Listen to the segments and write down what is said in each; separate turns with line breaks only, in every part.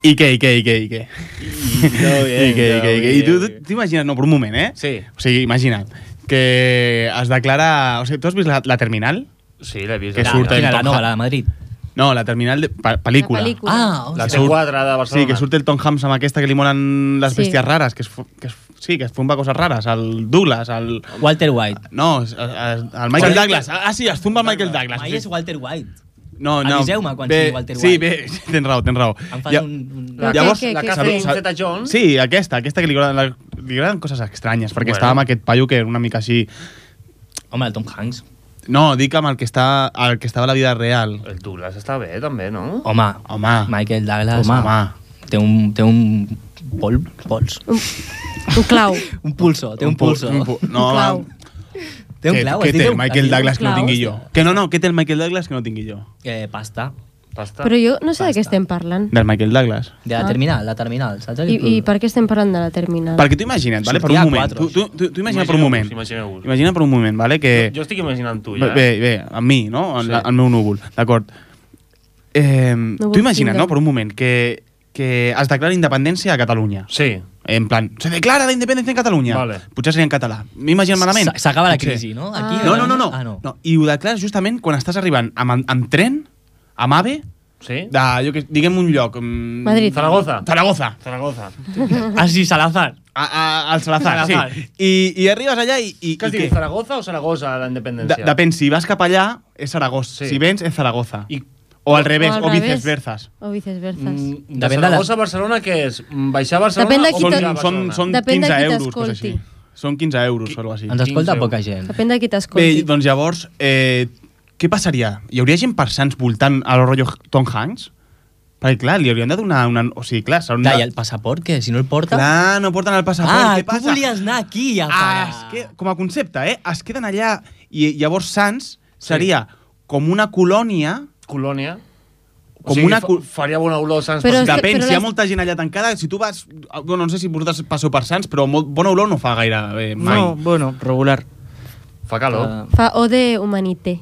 I què, i què, i què, i què?
Todo
I, què, i, què, i, què? I tu
bien.
tu t'imagines, no, per un moment, eh?
Sí,
O sigui, imagina't que es declara... O sigui, tu has vist la, la Terminal?
sí, l'he vist.
Que
La-
surt
la,
el
quina, la
Tom
nova,
Hanks.
la de Madrid.
No, la Terminal de pa, pel·lícula.
La pel·lícula.
Ah,
La
hòstia.
T4 de
Sí,
Barcelona.
que surt el Tom Hanks amb aquesta que li molen les
Sí.
sí. bèsties rares, que es, fu- que es, sí, que es fumba coses rares, el Douglas, el...
Walter White.
No, es- es- el Michael Douglas. Ah, sí, es fumba el Michael Douglas.
Mai és Walter White.
No, no.
Aviseu-me quan
bé,
sigui Walter
Sí,
White.
bé, tens raó, tens raó.
Em fas
Ja-
un... un...
La,
Però
Llavors,
llavors,
què,
la
què,
que
què
Catherine
fem?
Zeta-Jones.
Sí, aquesta, aquesta que li agraden, la- li agraden coses estranyes, perquè
Bueno.
estava amb aquest paio que era una mica així...
Home, el Tom Hanks.
No, dic amb el que, està, el que estava a la vida real.
El Douglas està bé, també, no?
Home,
Home,
Michael Douglas.
Home.
Té un... Té un pol, pols.
Un clau.
Un pulso, té un,
pul-
pulso.
un pu- no,
Un clau.
Té un
Què-
clau.
Què
es diu
té
un-
el Michael
es diu un
Douglas que no
clau.
tingui jo? Que no, no, què té el Michael Douglas que no tingui jo?
Eh, pasta.
Pasta.
Però jo no sé de
Basta.
què estem parlant.
Del Michael Douglas.
De la
Ah.
terminal, la terminal, saps?
I, I per què estem parlant de la terminal?
Perquè tu imagina't, vale, per
Sortia
un
a
moment.
quatre,
Tu, tu, tu, tu imagina per un
Imagineu-vos,
moment.
imagineu-vos.
Imagina per un moment, vale, que...
Jo estic imaginant tu, ja.
Bé, bé, bé, amb mi, no? En,
Sí.
la, el meu núvol, d'acord. Eh, tu imagina't,
Kingdom.
no?, per un moment, que, que es declara independència a Catalunya.
Sí.
En plan, se declara la independència en Catalunya.
Vale.
Potser seria en català. M'imagino malament.
S- S'acaba la
Potser.
crisi, no?
Ah.
Aquí,
No, no, no, no.
Ah, no.
no. I ho declares justament quan estàs arribant amb, amb tren, amb AVE,
Sí?
de, jo que, diguem un lloc... mm,
Madrid.
Zaragoza.
Zaragoza.
Zaragoza. eh?
Ah, sí, Salazar.
A, a, al Ah, Salazar,
Salazar.
sí. I, I arribes allà i... i,
Què
i
has dit, Zaragoza o Zaragoza, la
De,
independència?
depèn, si vas cap allà, és Zaragoza.
Sí.
Sí. Si vens, és Zaragoza.
I-
I, o al revés, o,
al
o
revés.
viceversas.
O viceversas.
Mm, De
Depèn de la-
Zaragoza a Barcelona, què és? Mm, Baixar a Barcelona
Depèn de
o
qui
Són,
te-
pujar a
són,
Barcelona?
són
Depèn de
15
qui
euros, coses així.
t'escolti.
Són 15 euros o alguna així.
Ens escolta
15
poca gent.
Depèn de qui
Bé,
t'escolti.
doncs llavors, eh, què passaria? Hi hauria gent persants voltant a lo rotllo Tom Hanks? Perquè, clar, li haurien de donar una... O sigui, clar, s'hauran
Clar, i
de...
el passaport, que si no el porta...
Clar, no porten el passaport,
ah,
què
tu
passa?
volies anar aquí a parar.
Ah, es que, com a concepte, eh? Es queden allà i llavors Sants seria com una colònia...
Colònia.
Com una
fa-
col-
Faria bona olor a Sants.
Però
Però...
és que-
Depèn, si hi ha
les-
molta gent allà tancada, si tu vas... Bueno, no sé si vosaltres passeu per Sants, però molt, bona olor no fa gaire bé mai.
No, bueno, regular.
Fa calor.
Ah.
Fa O de humanité.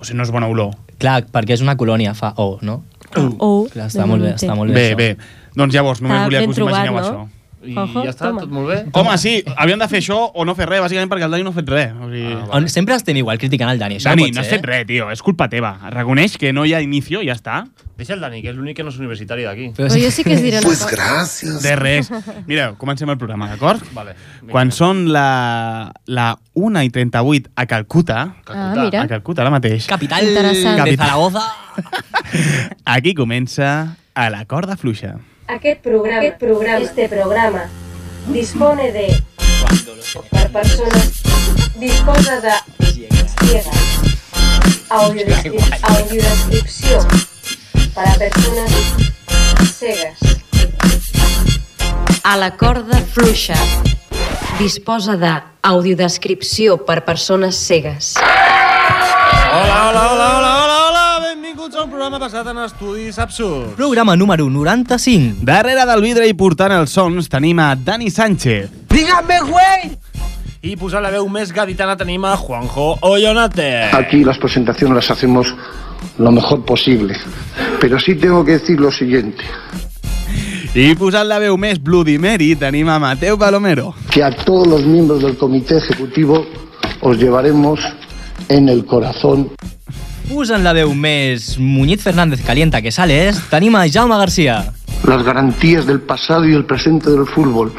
O sigui, no és bona olor.
Clar, perquè és una colònia, fa O, no?
O
Clar, està molt bé, està molt
Bé,
això.
bé. Doncs llavors, només
Està
volia
ben
que us
trobat,
imagineu
no?
això.
I
Ojo,
ja està,
toma.
tot molt bé.
Home, sí, havíem de fer això o no fer res, bàsicament perquè el Dani no ha fet res. O sigui...
Ah,
On sempre estem igual criticant el Dani, això
Dani,
no
no
pot
has
ser. eh?
fet res, tio. És culpa teva. Reconeix que no hi ha inicio, ja està.
Deixa el Dani, que és l'únic que no és universitari d'aquí.
Però
Però jo sí que us diré una
Pues
cosa.
gracias.
De res. Mireu, comencem el programa, d'acord?
Vale. vinga.
Quan són la, la 1 i 38 a Calcuta,
Ah,
Calcuta.
mira.
a Calcuta ara mateix,
Capital
Interessant.
de
Capital.
Zaragoza.
aquí comença a la corda fluixa.
Aquest programa, aquest programa, este programa, dispone de, per persones, disposa de ciegas, audiodescrip audiodescripció, para persones cegues.
A la corda fluixa. Disposa de audiodescripció per persones cegues.
Hola, hola, hola, hola, hola, hola, benvinguts a un programa basat en estudis absurds.
Programa número 95.
Darrere del vidre i portant els sons tenim a Dani Sánchez.
I posant la veu més gaditana tenim a Juanjo Ollonate.
Aquí las presentaciones las hacemos lo mejor posible. Pero sí tengo que decir lo siguiente,
I posant la veu més Bloody Mary tenim a Mateu Palomero.
que a todos los miembros del comité ejecutivo os llevaremos en el corazón.
Usen la veu més Muñiz Fernández Calienta que sales, tenim a Jaume Garcia.
Las garantías del pasado y el presente del fútbol,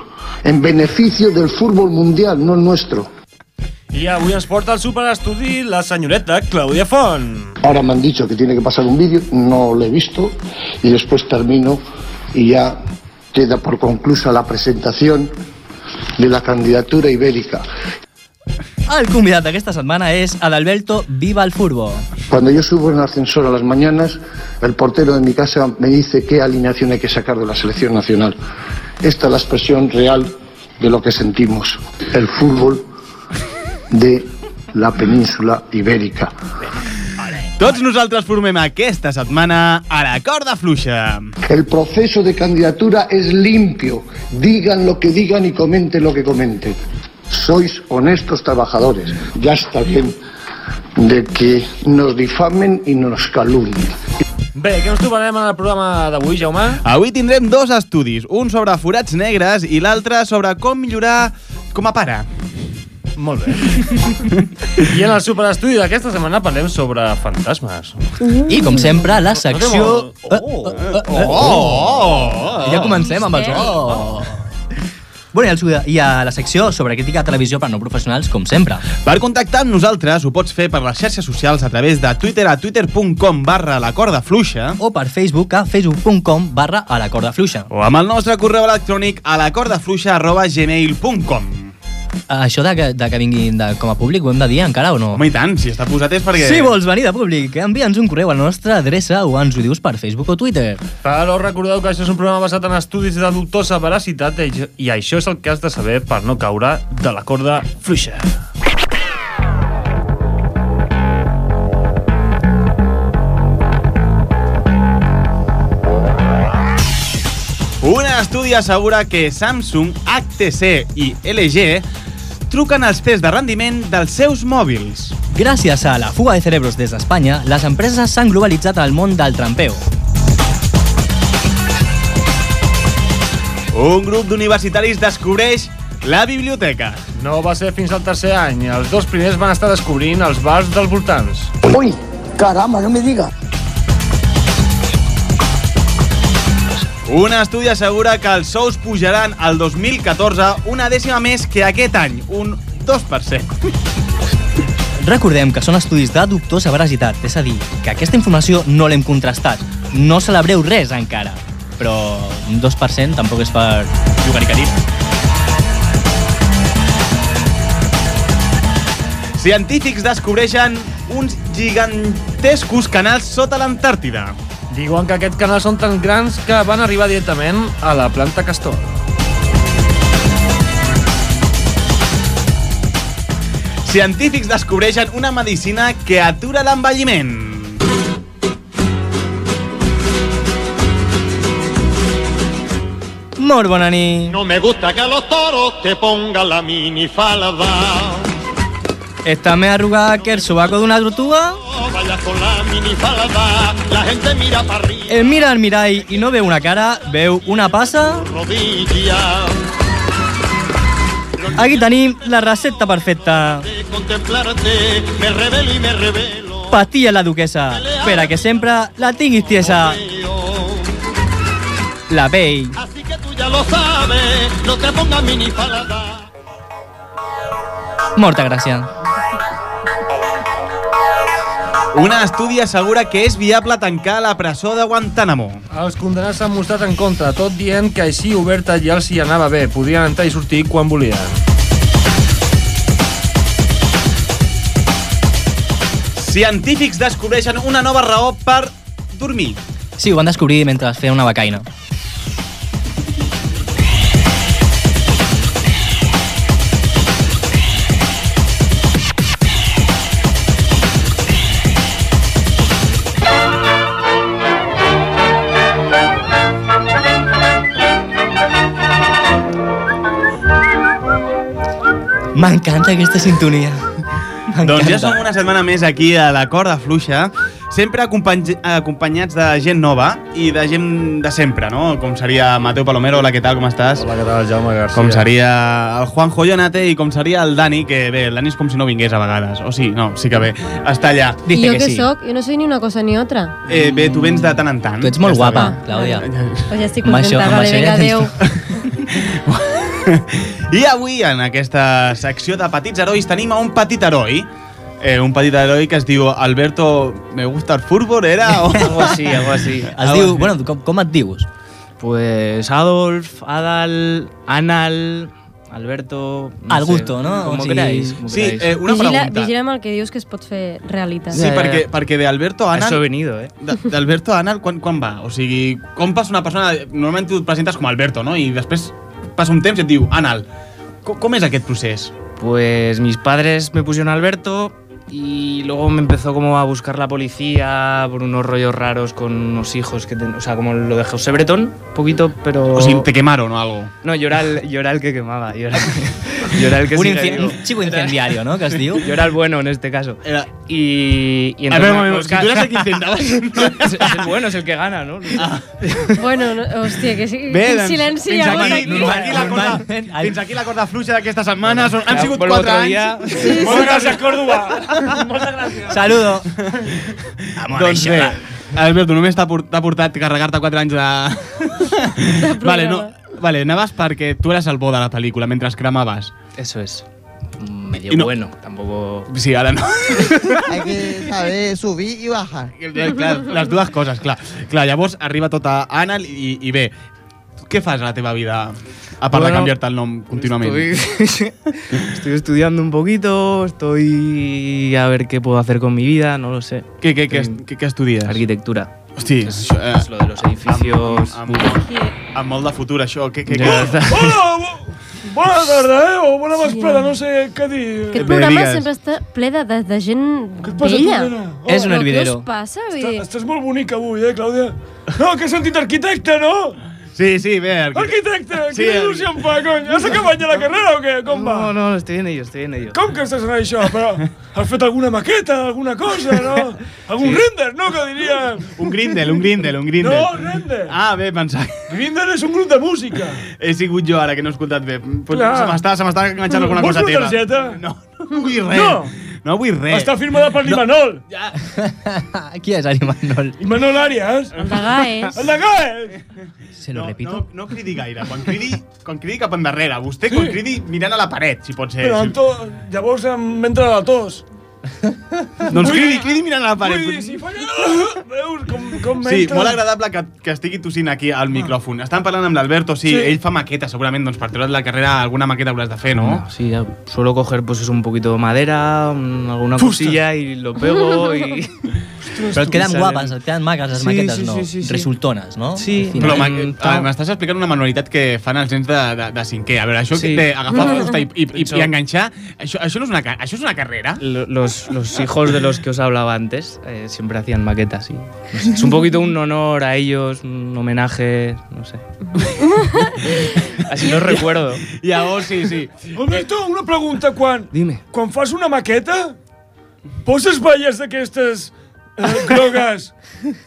en beneficio del fútbol mundial, no el nuestro.
I avui ens porta al superestudi la senyoreta Clàudia Font.
Ahora me han dicho que tiene que pasar un vídeo, no lo he visto, y después termino y ya queda por conclusa la presentación de la candidatura ibérica.
El convidat d'aquesta setmana és Adalberto Viva el Furbo.
Cuando yo subo en el ascensor a las mañanas, el portero de mi casa me dice qué alineación hay que sacar de la selección nacional. Esta es la expresión real de lo que sentimos, el fútbol de la península ibérica.
Tots nosaltres formem aquesta setmana a la corda fluixa.
El proceso de candidatura es limpio, digan lo que digan y comenten lo que comenten. Sois honestos trabajadores, ya está bien de que nos difamen y nos calumnien.
Bé, què ens trobarem en el programa d'avui, Jaume?
Avui tindrem dos estudis, un sobre forats negres i l'altre sobre com millorar com a pare.
Molt bé. I en el superestudi d'aquesta setmana parlem sobre fantasmes.
I, com sempre, la secció...
Oh, oh, oh, oh,
Oh!
I ja comencem amb els... Oh. Bueno, i, el, su- i a la secció sobre crítica a televisió per no professionals, com sempre.
Per contactar amb nosaltres ho pots fer per les xarxes socials a través de Twitter a twitter.com barra la corda fluixa
O per Facebook a facebook.com barra a la corda fluixa.
o amb el nostre correu electrònic a la corda fluixa arroba gmail.com
Això de que, de que vinguin de, com a públic ho hem de dir encara o no?
Home, i tant, si està posat és perquè...
Si vols venir de públic, envia'ns un correu a la nostra adreça o ens ho dius per Facebook o Twitter.
Però recordeu que això és un programa basat en estudis de dubtosa veracitat i i això és el que has de saber per no caure de la corda fluixa.
Un estudi assegura que Samsung, HTC i LG truquen els tests de rendiment dels seus mòbils.
Gràcies a la fuga de cerebros des d'Espanya, les empreses s'han globalitzat al món del trampeu.
Un grup d'universitaris descobreix la biblioteca.
No va ser fins al tercer any. Els dos primers van estar descobrint els bars dels voltants.
Uy, caramba, no me diga.
Un estudi assegura que els sous pujaran al 2014 una dècima més que aquest any, un 2%.
Recordem que són estudis de dubtosa veracitat, és a dir, que aquesta informació no l'hem contrastat. No celebreu res encara, però un 2% tampoc és per jugar i carir.
Científics descobreixen uns gigantescos canals sota l'Antàrtida.
Diuen que aquests canals són tan grans que van arribar directament a la planta castor.
Científics descobreixen una medicina que atura l'envelliment.
Molt bona nit.
No me gusta que a los toros te pongan la minifalda.
Està més arrugat que el sobaco d'una tortuga?
No vayas con la minifalda. La gente mira para arriba,
Eh, mira al mirall i no veu una cara, veu una passa.
rodilla.
Aquí tenim la recepta perfecta.
De contemplarte, me revelo y me revelo.
Pastilla la duquesa, per a que sempre la tinguis tiesa. La pell.
Así que tú ya lo sabes, no te pongas minifalda.
Molta gràcia.
Un estudi assegura que és viable tancar la presó de Guantánamo.
Els condenats s'han mostrat en contra, tot dient que així oberta ja els hi anava bé, podien entrar i sortir quan volien.
Científics descobreixen una nova raó per dormir.
Sí, ho van descobrir mentre feia una becaina. M'encanta aquesta sintonia.
Doncs ja
M'encanta.
som una setmana més aquí a la corda fluixa, sempre acompany acompanyats de gent nova i de gent de sempre, no? Com seria Mateu Palomero, hola, què tal, com estàs?
Hola, què tal, Jaume García?
Com seria el Juanjo Jonate i com seria el Dani, que bé, el Dani és com si no vingués a vegades. O sí, no, sí que bé, està allà.
¿Y
Dice
yo
que
qué
sí.
soc? Yo no soy ni una cosa ni otra.
Eh, bé, tu vens de tant en tant.
Tu ets molt
està
guapa,
bé.
Clàudia.
Pues ya estoy
Amb
contenta.
això- amb
vale,
això
venga,
ja
adeu.
I avui, en aquesta secció de petits herois, tenim a un petit heroi. Eh, un petit heroi que es diu Alberto... Me gusta el fútbol, era? O...
Algo así, algo así.
Es diu, bueno, com, com et dius?
Pues Adolf, Adal, Anal, Alberto. no
Al
sé,
gusto, ¿no?
Como
Sí.
queráis. Como
Sí,
queráis.
eh, una
Vigila,
pregunta.
vigila amb el que dius que es pot fer realitat.
Sí,
Ja, ja, ja.
perquè, perquè d'Alberto
A eso Eh, he
Anal...
venido, ¿eh?
de- D'Alberto Anal, quan, quan va? O sigui, com passa una persona... Normalment tu et presentes com Alberto, no? I després passa un temps i et diu Anal. Com, com és aquest procés?
Pues mis padres me pusieron Alberto y luego me empezó como a buscar la policía por unos rollos raros con unos hijos que ten- o sea, como lo de José Bretón, poquito, pero
O sigui, te quemaron o algo.
no, yo era, el, yo era el que quemaba, yo era, Yo era el que
un,
sigue
inci-
vivo.
un chico incendiario, ¿no? Que es diu.
Yo era el bueno en este caso.
Era-
Y, y
A ver, un moment,
pues,
si
ca-
tú eras el que Ah. intentabas...
es, es el bueno, es el que gana, ¿no?
Bueno, no, hòstia, que sí,
Bé,
quin
doncs,
silenci hi
fins
ha hagut
aquí,
aquí.
fins aquí la corda,
Normalment, ai.
fins aquí la corda fluixa d'aquesta setmana. Són, han
Ja,
sigut
volvo
4
otro
anys.
dia.
Moltes gràcies, Córdoba!
Saludo.
Doncs bé, Alberto, només t'ha por- t'ha portat carregar-te 4 anys de... vale, no, vale, anaves perquè tu eres el bo de la pel·lícula mentre es cremaves.
Eso es.
Y
Medio
no-
bueno, tampoco.
Sí, ara no.
Hay que saber subir y bajar.
Eh,
Eh, clar, les dues coses, clar. clar llavors arriba tota Anna i, i bé, què fas a la teva vida a part bueno, de
Bueno,
canviar-te el nom contínuament?
Estoy, estoy estudiando un poquito, estoy a ver qué puedo hacer con mi vida, no lo sé.
Què, què, què,
Estoy-
què, què estudies?
Arquitectura.
Hosti,
Es,
això, eh,
es lo de los edificios.
amb, amb, amb molt de futur, això. Què, què, Oh!
Ya
què?
está.
Bona tarda, eh? O bona vesprada, no sé què dir.
Aquest
Bé,
programa
digues.
sempre està ple de, de, de gent
Què et passa,
vella.
tu, nena?
És un
Però
hervidero.
Què us passa? Vull
Està-
dir,
Estàs molt bonic avui, eh, Clàudia? No, que he sentit arquitecte, no?
Sí, sí, bé, arquitecte.
Arquitecte,
Sí,
quina
el-
il·lusió em fa, cony. Has acabat ja la carrera o què? Com va?
No, no, estoy en ello, estoy en ello.
Com que estàs en això? Però has fet alguna maqueta, alguna cosa, no? Algun render, no? Que diria...
Un grindel, un grindel, un grindel.
No, render.
Ah, bé, pensava...
Grinder és un grup de música.
He sigut jo ara, que no he escoltat bé. Pot,
Clar.
se m'està se m'està enganxant alguna
Vols
cosa
una
teva.
targeta?
No, no vull res.
No.
no vull res.
Està firmada per l'Imanol.
Qui és Arimanol?
Imanol Arias.
el de Gaes.
El de Gaes.
Se lo
No,
repito.
no, no cridi gaire. Quan cridi, quan cridi cap endarrere. Vostè quan cridi mirant a la paret, si pot ser.
Però amb
Si...
to... llavors em entra la tos.
Doncs cridi, cridi mirant a la paret.
Vull dir, si fa... Veus com, com
Sí,
m'entra? Ah.
molt agradable que, que estigui tossint aquí al micròfon. Estàvem parlant amb l'Alberto, sí,
Sí.
ell fa maqueta, segurament, doncs per treure't la carrera alguna maqueta hauràs de fer, no?
No, sí, ya suelo coger pues eso, un poquito de madera, un- alguna
Fustas.
cosilla y lo pego y...
Però et queden
Salen.
guapes, et queden maques les
Sí,
maquetes,
sí,
no?
sí, sí, sí.
Resultones, no?
Sí.
Al
Però
final.
Mm,
ma-
tal.
ah, m'estàs explicant una manualitat que fan els nens de, de, de cinquè. A veure, això
Sí. Mm.
de agafar fusta i, i, i,
Això.
i enganxar, això, això, no és una, ca- això és una carrera?
Lo- Los, los hijos de los que os hablaba antes eh, siempre hacían maquetas y no sé, es un poquito un honor a ellos, un homenaje, no sé. Así los recuerdo.
Llavors, sí, sí.
Alberto, una pregunta. Quan,
Dime.
quan fas una maqueta, poses valles d'aquestes eh, grogues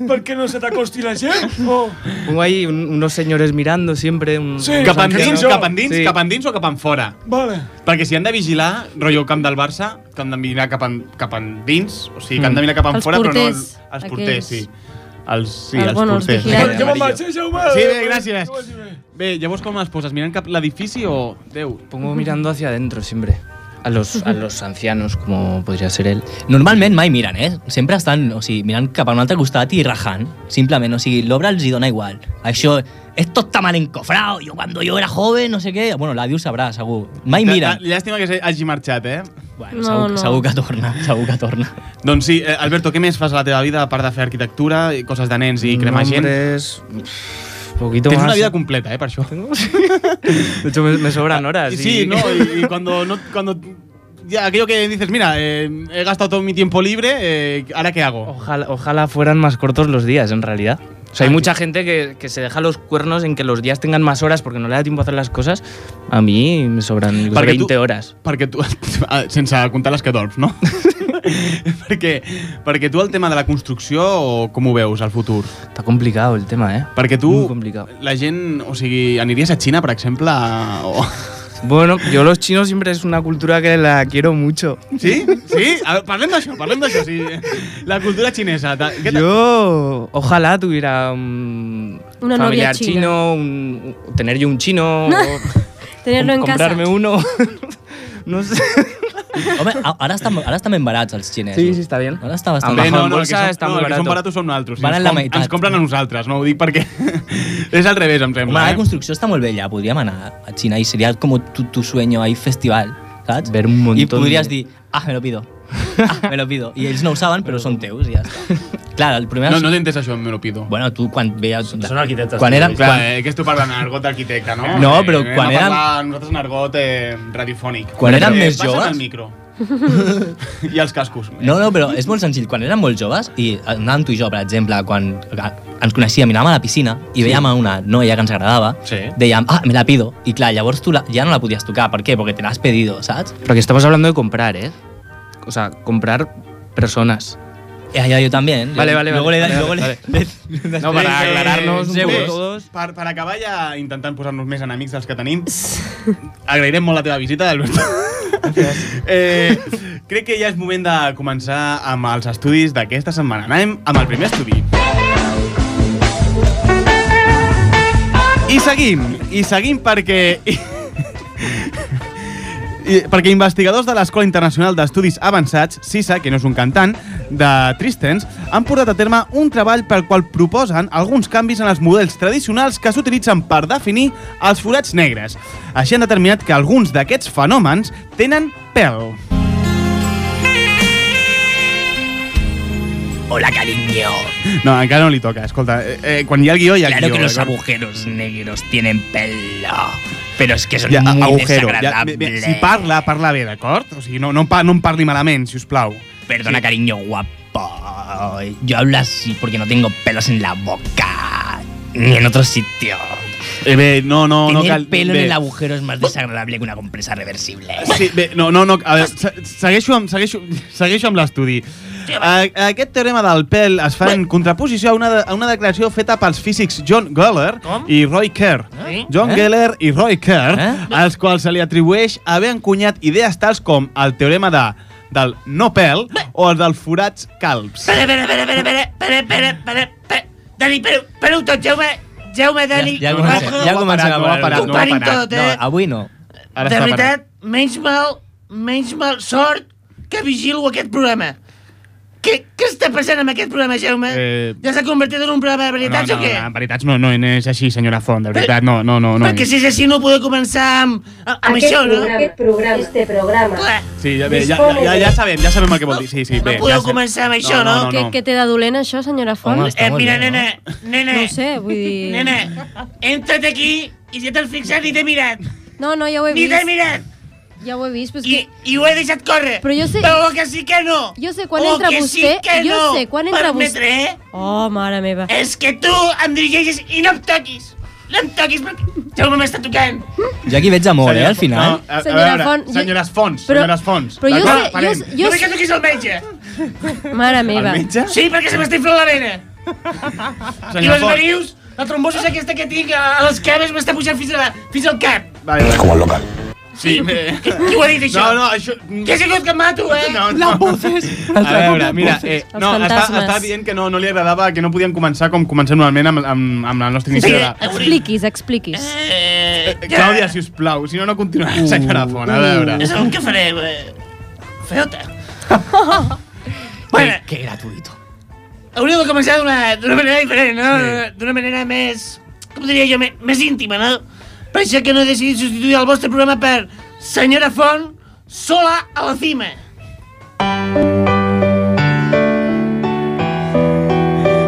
perquè no se t'acosti la gent?
Oh.
O...
Pongo ahí un- unos señores mirando siempre. Un,
Sí.
unos
Cap endins,
ancianos.
Sí.
cap endins,
Sí.
cap endins o cap en fora?
Vale.
Perquè si han de vigilar, rotllo camp del Barça, que han de mirar cap, en, cap endins, o sigui, que
Mm.
han de mirar cap en
Els
fora,
porters,
però no els porters,
aquells.
sí. Els, sí,
Ah,
els
bueno, els
porters.
vigilants.
Jo me'n vaig, eh, Jaume?
Sí, bé, gràcies.
Que vagi bé.
Bé, llavors com les poses? Mirant cap l'edifici o... Déu.
Pongo mirando hacia adentro siempre. A los, a los ancianos, como podría ser él.
Normalment mai miren, eh? Sempre estan, o sigui, mirant cap a un altre costat i rajant, simplement. O sigui, l'obra els hi dona igual. Això, esto está mal encofrado, yo cuando yo era joven, no sé què... Bueno, l'àdio sabrà, segur. Mai
Mira.
miren.
Llàstima que hagi marxat, eh?
Bueno,
No,
segur,
no.
segur que torna, segur que torna.
Doncs sí, eh, Alberto, què més fas a la teva vida a part de fer arquitectura i coses de nens i cremar gent?
Nombres, pff, poquito
Tens
más.
una vida completa, eh, per això.
De hecho, me, me sobran horas.
Y
Y,
sí, ¿no? Y, y cuando, no- cuando ya aquello que dices, mira, eh, he gastado todo mi tiempo libre, eh, ¿ahora qué hago?
Ojalá, ojalá fueran más cortos los días, en realidad. O sea,
Ah,
hay mucha gente que, que se deja los cuernos en que los días tengan más horas porque no le da tiempo a hacer las cosas. A mí me sobran pues,
Porque tú-
20 horas.
Perquè tu, ah, sense comptar les que dorms, no? perquè, perquè tu el tema de la construcció, o com ho veus al futur?
Está complicado el tema, ¿eh?
Perquè tu,
Muy complicado.
la gent, o sigui, aniries a Xina, per exemple, a- o...
Bueno, yo los chinos siempre es una cultura que la quiero mucho.
Sí? Sí? A veure, parlem d'això, parlem d'això. Sí. La cultura xinesa. ta- Què ta-
Yo ojalá tuviera un
Una novia
familiar
china.
chino, un- un- tener yo un chino, o
Tener-lo en casa.
comprarme uno. no sé.
Home, a- ara estan, ara estan ben barats els xinesos.
Sí, sí, està bien.
Ara està bastant
Bé,
Bé,
barat.
no,
en
no, el que
bolsa
són,
està
no,
molt
el que són
barato.
baratos són altres.
Valen
ens
la
com-
meitat.
Ens compren a nosaltres, no ho dic perquè... és al revés, em
Home,
sembla.
ara
eh?
la construcció està molt bella, podríem anar a Xina i seria com tu, tu sueño, ahí festival, saps?
Ver un
I
montón
podries
de-
dir, ah, me lo pido, ah, me lo pido. I ells no ho saben, però són teus i ja està. Clar, el primer...
No, no t'he entès això, me lo pido.
Bueno, tu quan veies...
Són arquitectes,
Quan
tu,
eren...
ells.
Clar,
Quan,
eh, aquesta parla en argot d'arquitecte, no?
No, però
Eh,
quan
anem a
eren-
Parlar, nosaltres en argot eh, radiofònic.
Quan eren
Eh,
més
passa't
joves-
el micro. I els cascos.
No, no, però és molt senzill. Quan érem molt joves, i anàvem tu i jo, per exemple, quan a- ens coneixíem, miràvem a la piscina i veiem a una noia que ens agradava, sí. dèiem, ah, me la pido. I clar, llavors tu la, ja no la podies tocar. Per què? Perquè te l'has pedido, saps?
Pero aquí estamos hablando de comprar, ¿eh? O sea, comprar personas.
Ja, ja, jo també. eh?
Vale, vale,
Luego
vale,
le,
vale,
luego
vale,
le,
No, para aclararnos un poco todos.
Per, per acabar ja intentant posar-nos més enemics dels que tenim, agrairem molt la teva visita, Alberto. eh, crec que ja és moment de començar amb els estudis d'aquesta setmana. Anem amb el primer estudi. I seguim, i seguim perquè... I, perquè investigadors de l'Escola Internacional d'Estudis Avançats, CISA, que no és un cantant, de Tristens, han portat a terme un treball pel qual proposen alguns canvis en els models tradicionals que s'utilitzen per definir els forats negres. Així han determinat que alguns d'aquests fenòmens tenen pèl.
Hola, cariño.
No, encara no li toca, escolta. Eh, eh, quan hi ha el guió, hi ha el
Claro
guió. eh,
que los
d'acord?
agujeros negros tienen pelo, pero es que son
Ja,
muy
agujero. Ja, bé,
desagradables.
bé, si parla, parla bé, d'acord? O sigui, no, no, em pa- no em parli malament, si us plau.
Perdona,
Sí.
cariño guapo. Yo hablo así porque no tengo pelos en la boca ni en otro sitio.
Eh, bé, no, no, no
Tener
cal...
pelo en
bé.
el agujero es más desagradable que una compresa reversible.
Sí, bé, no, no, no, a veure, se- segueixo amb, segueixo, segueixo amb l'estudi. A- Aquest teorema del pèl es fa en contraposició a una, de- a una declaració feta pels físics John Geller i Roy Kerr.
Eh?
John
Eh?
Geller i Roy Kerr, als quals se li atribueix haver encunyat idees tals com el teorema de, del no pèl o el dels forats calbs.
Espera, espera, espera, espera, espera, espera, espera, espera, espera. Dani, però, però un tot, Jaume, Jaume, Dani.
ja comencem,
Ojo.
ja comencem
no
a
ho ha
parar.
parat,
no ho ha Comparin parat. tot,
No,
eh?
avui no.
de veritat, menys mal, menys mal sort que vigilo aquest programa. Què, què està passant amb aquest programa, Jaume?
Eh,
Ja s'ha convertit en un programa de
no,
veritats
no,
o què?
no, en veritat no, no és així, senyora Font, de veritat, no, no, no. no
Perquè si és així no podeu començar amb, amb
Aquest
això, no?
programa- aquest programa- este programa.
Clar,
Sí, ja, bé, ja, ja, ja, ja sabem, ja sabem el que vol dir. Sí, sí, bé,
podeu
ja sé.
començar amb això, no?
no,
Què,
no.
què té de dolent això, senyora Font?
Home, està
eh,
molt
mira,
bé,
nena, nena.
No ho sé, vull dir...
Nena, he entrat aquí i si t'has fixat ni t'he mirat.
No, no, ja ho he
Ni
vist.
t'he mirat.
Ja ho he vist, però és
I, I ho he deixat córrer.
Però jo sé-
Però que sí que no.
Jo sé quan
Oh,
entra
que
vostè...
sí que
jo
no. eh?
sé quan entra vostè...
Permetré.
Oh, mare meva.
És que tu em dirigeixes i no em toquis. No em toquis perquè Jaume m'està tocant.
Jo aquí veig amor, eh, al final.
No, eh, a, a
Senyora
veure,
Font, jo-
senyores Fons,
però-
senyores Fons.
però jo
d'acord?
sé- jo
Parem.
sé-
Jo no sé que toquis el metge.
Mare meva.
El metge?
Sí, perquè se m'està inflant la vena. I
Senyor
les
Font.
verius, la trombosis aquesta que tinc a a les cames m'està pujant fins, a, fins al cap.
Vale, vale.
Como el local.
Sí, bé.
Qui ho ha dit, això?
No, no, això...
Que ha sigut que em mato, eh?
No, no. Las voces. A veure, mira, eh,
Els
no, està,
fantasmes.
està dient que no, no li agradava, que no podíem començar com comencem normalment amb, amb, amb la nostra
Sí,
iniciativa.
expliquis, expliquis.
Eh, uh,
Clàudia, si us plau, si no, no
Uh,
continuarà, senyora Font, a veure.
Ja sabeu què fareu, eh? Feota. bueno,
Que gratuito.
hauríeu de començar d'una d'una manera diferent, no? D'una manera més... Com diria jo? Més, més íntima, no? Per això que no he decidit substituir el vostre programa per Senyora Font sola a la cima.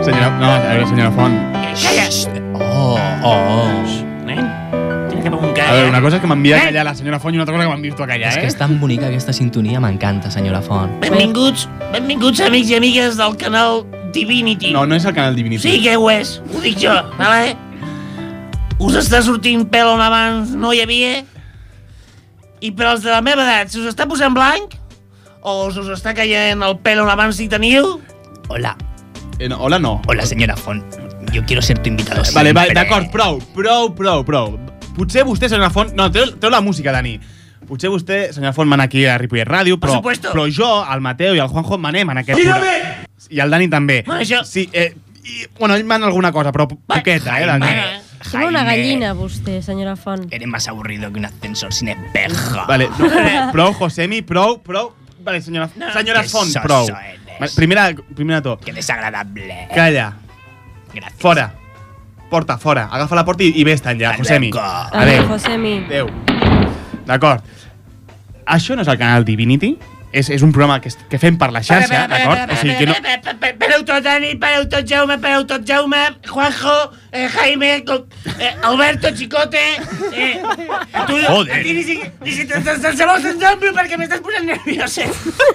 Senyora, no, a veure, senyora Font.
Eh,
Calla!
Oh, oh, oh.
Nen, tira cap amunt,
A
calla.
veure, una cosa és que m'envia a
eh. Nen,
callar la senyora Font i una altra cosa que m'envies tu a callar,
És que
eh?
és tan bonica aquesta sintonia, m'encanta, senyora Font.
Benvinguts, benvinguts amics i amigues del canal Divinity.
No, no és el canal Divinity.
Sí que ho és, ho dic jo, vale? Us està sortint pèl on abans no hi havia i per als de la meva edat, si us està posant blanc o us, us està caient el pèl on abans hi teniu... Hola.
Eh, no, hola, no.
Hola, senyora Font. Yo quiero ser tu invitado
Vale, vale, d'acord, prou, prou, prou, prou. Potser vostè, senyora Font... No, treu, treu la música, Dani. Potser vostè, senyora Font, mana aquí a Ripollet Ràdio, però,
supuesto.
però jo, el Mateu i el Juanjo manem en aquest
Dígame!
programa. I el Dani també.
Bueno, això-
Sí, eh, i, bueno, ell mana alguna cosa, però po- poqueta, eh, Dani?
Sembla una gallina, vostè, senyora Font.
Eres más aburrido que un ascensor sin espejo.
Vale, no, prou, Josemi, prou, prou. Vale, senyora, no, senyores
que
Font,
soso
prou.
eres.
Vale, Primera, primera to.
Que desagradable.
Calla.
Gràcies.
Fora. Porta, fora. Agafa la porta i, i vés-te'n ja, Josemi.
Adéu, Josemi.
Adéu. D'acord. Això no és el canal Divinity? és, és un programa que, es- que fem per la xarxa, d'acord? O sigui que no...
Pareu tot, Dani, pareu tot, Jaume, pareu tot, Jaume, Juanjo, eh, Jaime, co- eh, Alberto, Chicote... Eh, a tu,
Joder.
A ti ni, si, ni si te salvamos el nombre perquè m'estàs posant nerviosa.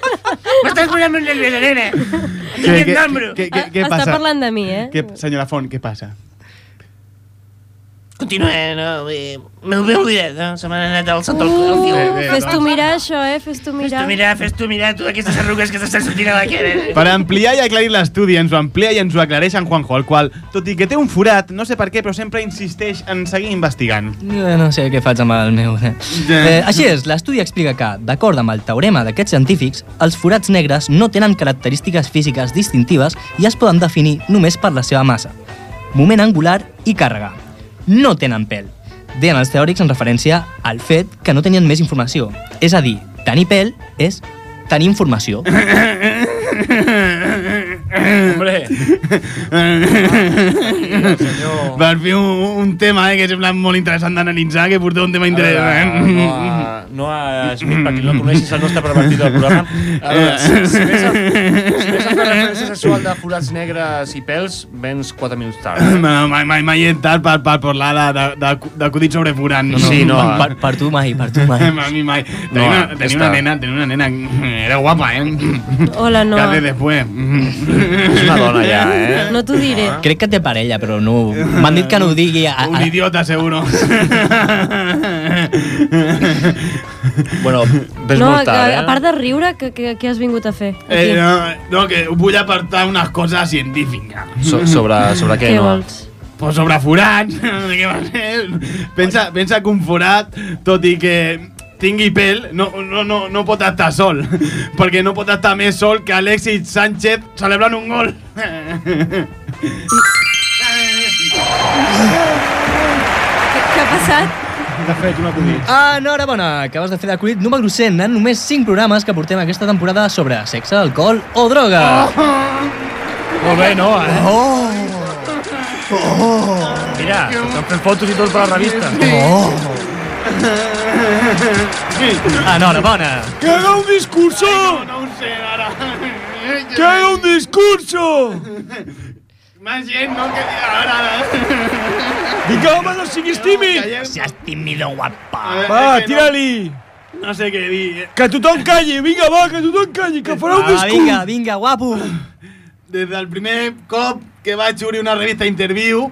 m'estàs posant molt nerviosa, nena.
Què, què,
Nombro.
què, què, què
Està
passa?
parlant de mi, eh?
Què, senyora Font, què passa?
Continua, no? eh, M'ho he oblidat, no? Se m'han anat al sant al
Uh,
cul.
Fes-t'ho mirar, això, eh? Fes-t'ho mirar.
Fes-tu mirar, fes-tu mirar, tu, aquestes arrugues que s'estan sortint a la cara.
Per ampliar i aclarir l'estudi, ens ho amplia i ens ho aclareix en Juanjo, el qual, tot i que té un forat, no sé per què, però sempre insisteix en seguir investigant.
Jo Eh, no sé què faig amb el meu... Eh, així és, l'estudi explica que, d'acord amb el teorema d'aquests científics, els forats negres no tenen característiques físiques distintives i es poden definir només per la seva massa, moment angular i càrrega. No tenen pèl. Deien els teòrics en referència al fet que no tenien més informació. És a dir, tenir pèl és tenir informació.
Eh,
Hombre.
Per fi un, un tema eh, que sembla molt interessant d'analitzar, que porteu un tema eh?
No a, no a Smith, perquè no coneixes el nostre pervertit del programa. A
Eh.
veure, si, si vens a, si vens a fer referència sexual de forats negres i pèls, vens 4 minuts tard.
No, mai, mai, mai he entrat per, per parlar de- de- de- d'acudits sobre forans.
Sí, no.
Per,
per tu mai, per tu mai.
A mi mai. Tenia,
No,
una, tenia una
està. Doncs
nena, tenia una nena, era guapa, eh?
Hola,
No.
Noa.
Casi después.
És una dona ja,
eh? No t'ho diré.
Ah. Crec que té parella, però no... M'han dit que no ho digui... A,
Un idiota, seguro.
bueno, ves
no,
molt tard,
a,
eh?
a part de riure, què que, que has vingut a fer?
Eh, no, no, que us vull apartar unes coses científiques.
So, sobre, sobre què,
Què
no?
vols?
Pues sobre forats, de què va ser? Pensa, pensa que un forat, tot i que tingui pèl, no, no, no, no pot estar sol, perquè no pot estar més sol que Alexis Sánchez celebrant un gol.
Què ha passat?
De fet, una acudit.
Ah, Enhorabona, acabes de fer l'acudit número 100 en només 5 programes que portem aquesta temporada sobre sexe, alcohol o droga.
Oh,
Oh.
Molt bé, no, eh?
Oh!
Oh. Mira, estan fent fotos i tot per la revista.
Oh.
Ah, Enhorabona.
¡Que haga un discurso!
no, no sé, ara. Eh,
¡Que haga un discurso!
Más gent, no? Que ara, ara.
Vinga, home, no siguis tímid!
Seas tímido, guapa. eh,
Va, tira-li!
No sé què dir.
Que tothom calli! Vinga, va, que tothom calli, que farà un
Va,
discurs!
vinga,
vinga, Ah, guapo!
Des del primer cop que vaig obrir una revista Interview,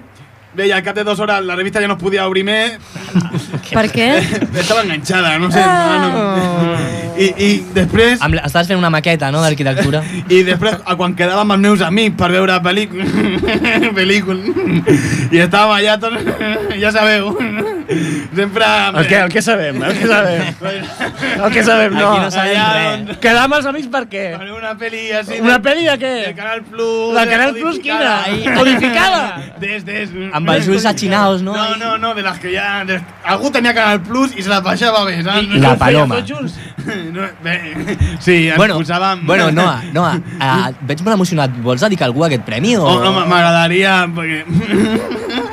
veia al cap de dues hores la revista ja no es podia obrir més.
Per què?
Estava enganxada, no sé. no,
Ah.
no. I, I després...
Amb, la- estàs fent una maqueta, no?, d'arquitectura.
I després, a quan quedàvem amb els meus amics per veure pel·lícula, pel·lícula i estàvem allà tots, ja sabeu, sempre...
El què, el què sabem, el què sabem. El que sabem, no.
Aquí no sabem res.
Quedar amb els amics per què?
Per una pel·li així...
Una pel·li de què?
Del Canal Plus... eh,
Del Canal Plus,
codificada.
quina? Codificada?
Des, des...
Amb els ulls achinaos, no?
No, no, no, de les que ja... De... Algú tenia Canal Plus i se la baixava bé, saps?
I- i La Paloma.
No, bé, sí, ens
bueno,
posàvem...
bueno, Noa, Noa, eh, et veig molt emocionat. Vols dedicar algú a aquest premi o...?
Oh, no, m- m'agradaria, perquè...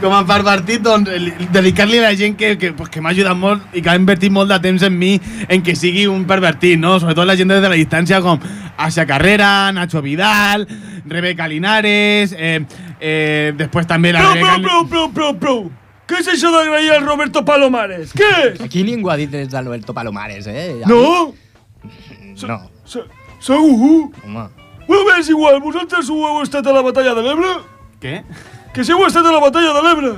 Com a pervertit, doncs, li- dedicar-li a la gent que, que, pues, que m'ha ajudat molt i que ha invertit molt de temps en mi en que sigui un pervertit, no? Sobretot la gent des de la distància com Asia Carrera, Nacho Vidal, Rebeca Linares, eh, eh, després també la
Prou,
Rebeca...
prou, prou, prou, prou, prou! Què és això d'agrair al Roberto Palomares? Què és?
Aquí ningú ha dit des d'Alberto Palomares, eh? A
No?
mi- No,
Se- Segur?
home.
Bueno, bé, és igual, vosaltres ho heu estat a la batalla de l'Ebre?
Què?
Que si heu estat a la batalla de l'Ebre?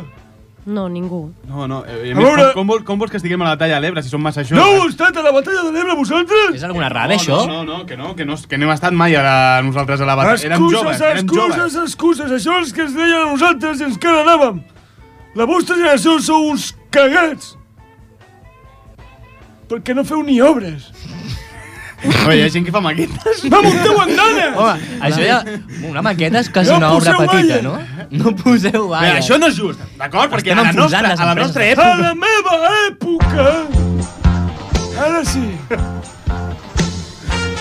No, ningú.
No, no, eh,
A
a més, com,
veure.
com, vol, com vols que estiguem a la batalla a l'Ebre si som massa això?
No heu estat a la batalla de l'Ebre vosaltres?
És alguna
no, No, no, no, que no, que no, que no hem estat mai a la, nosaltres a la batalla. Érem
Excuses,
joves, érem joves.
excuses, excuses, això és el que ens deien a nosaltres i ens que anàvem. La vostra generació sou uns cagats. Perquè no feu ni obres.
Oye, hi ha gent que fa maquetes.
Va, munteu andanes!
Home, això ja... Una maqueta és quasi
No
una obra
poseu
petita,
aire.
no? No poseu
Bé,
aire.
això no és just, d'acord? Perquè
Estem
a la nostra,
enfonsant les
a la nostra
empreses.
A
època...
la meva època! Ara sí.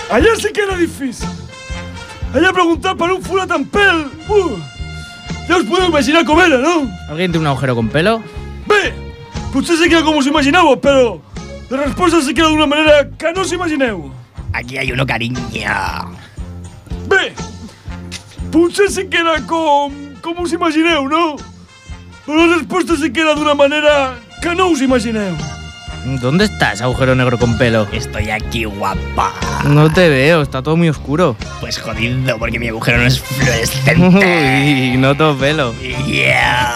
Allà sí que era difícil. Allà preguntar per un forat amb pèl. Uh! Ja us podeu imaginar com era, no?
¿Alguien tiene un agujero con pelo?
Bé, potser sé que era com us imaginàveu, però La resposta sí que era d'una manera que no s'imagineu.
Aquí hay uno, cariño.
Bé, potser sí que era com... com us imagineu, no? Però la resposta sí que era d'una manera que no us imagineu.
¿Dónde estás, agujero negro con pelo?
Estoy aquí, guapa.
No te veo, está todo muy oscuro.
Pues jodido, porque mi agujero no es fluorescente.
Uy, no todo pelo.
Yeah.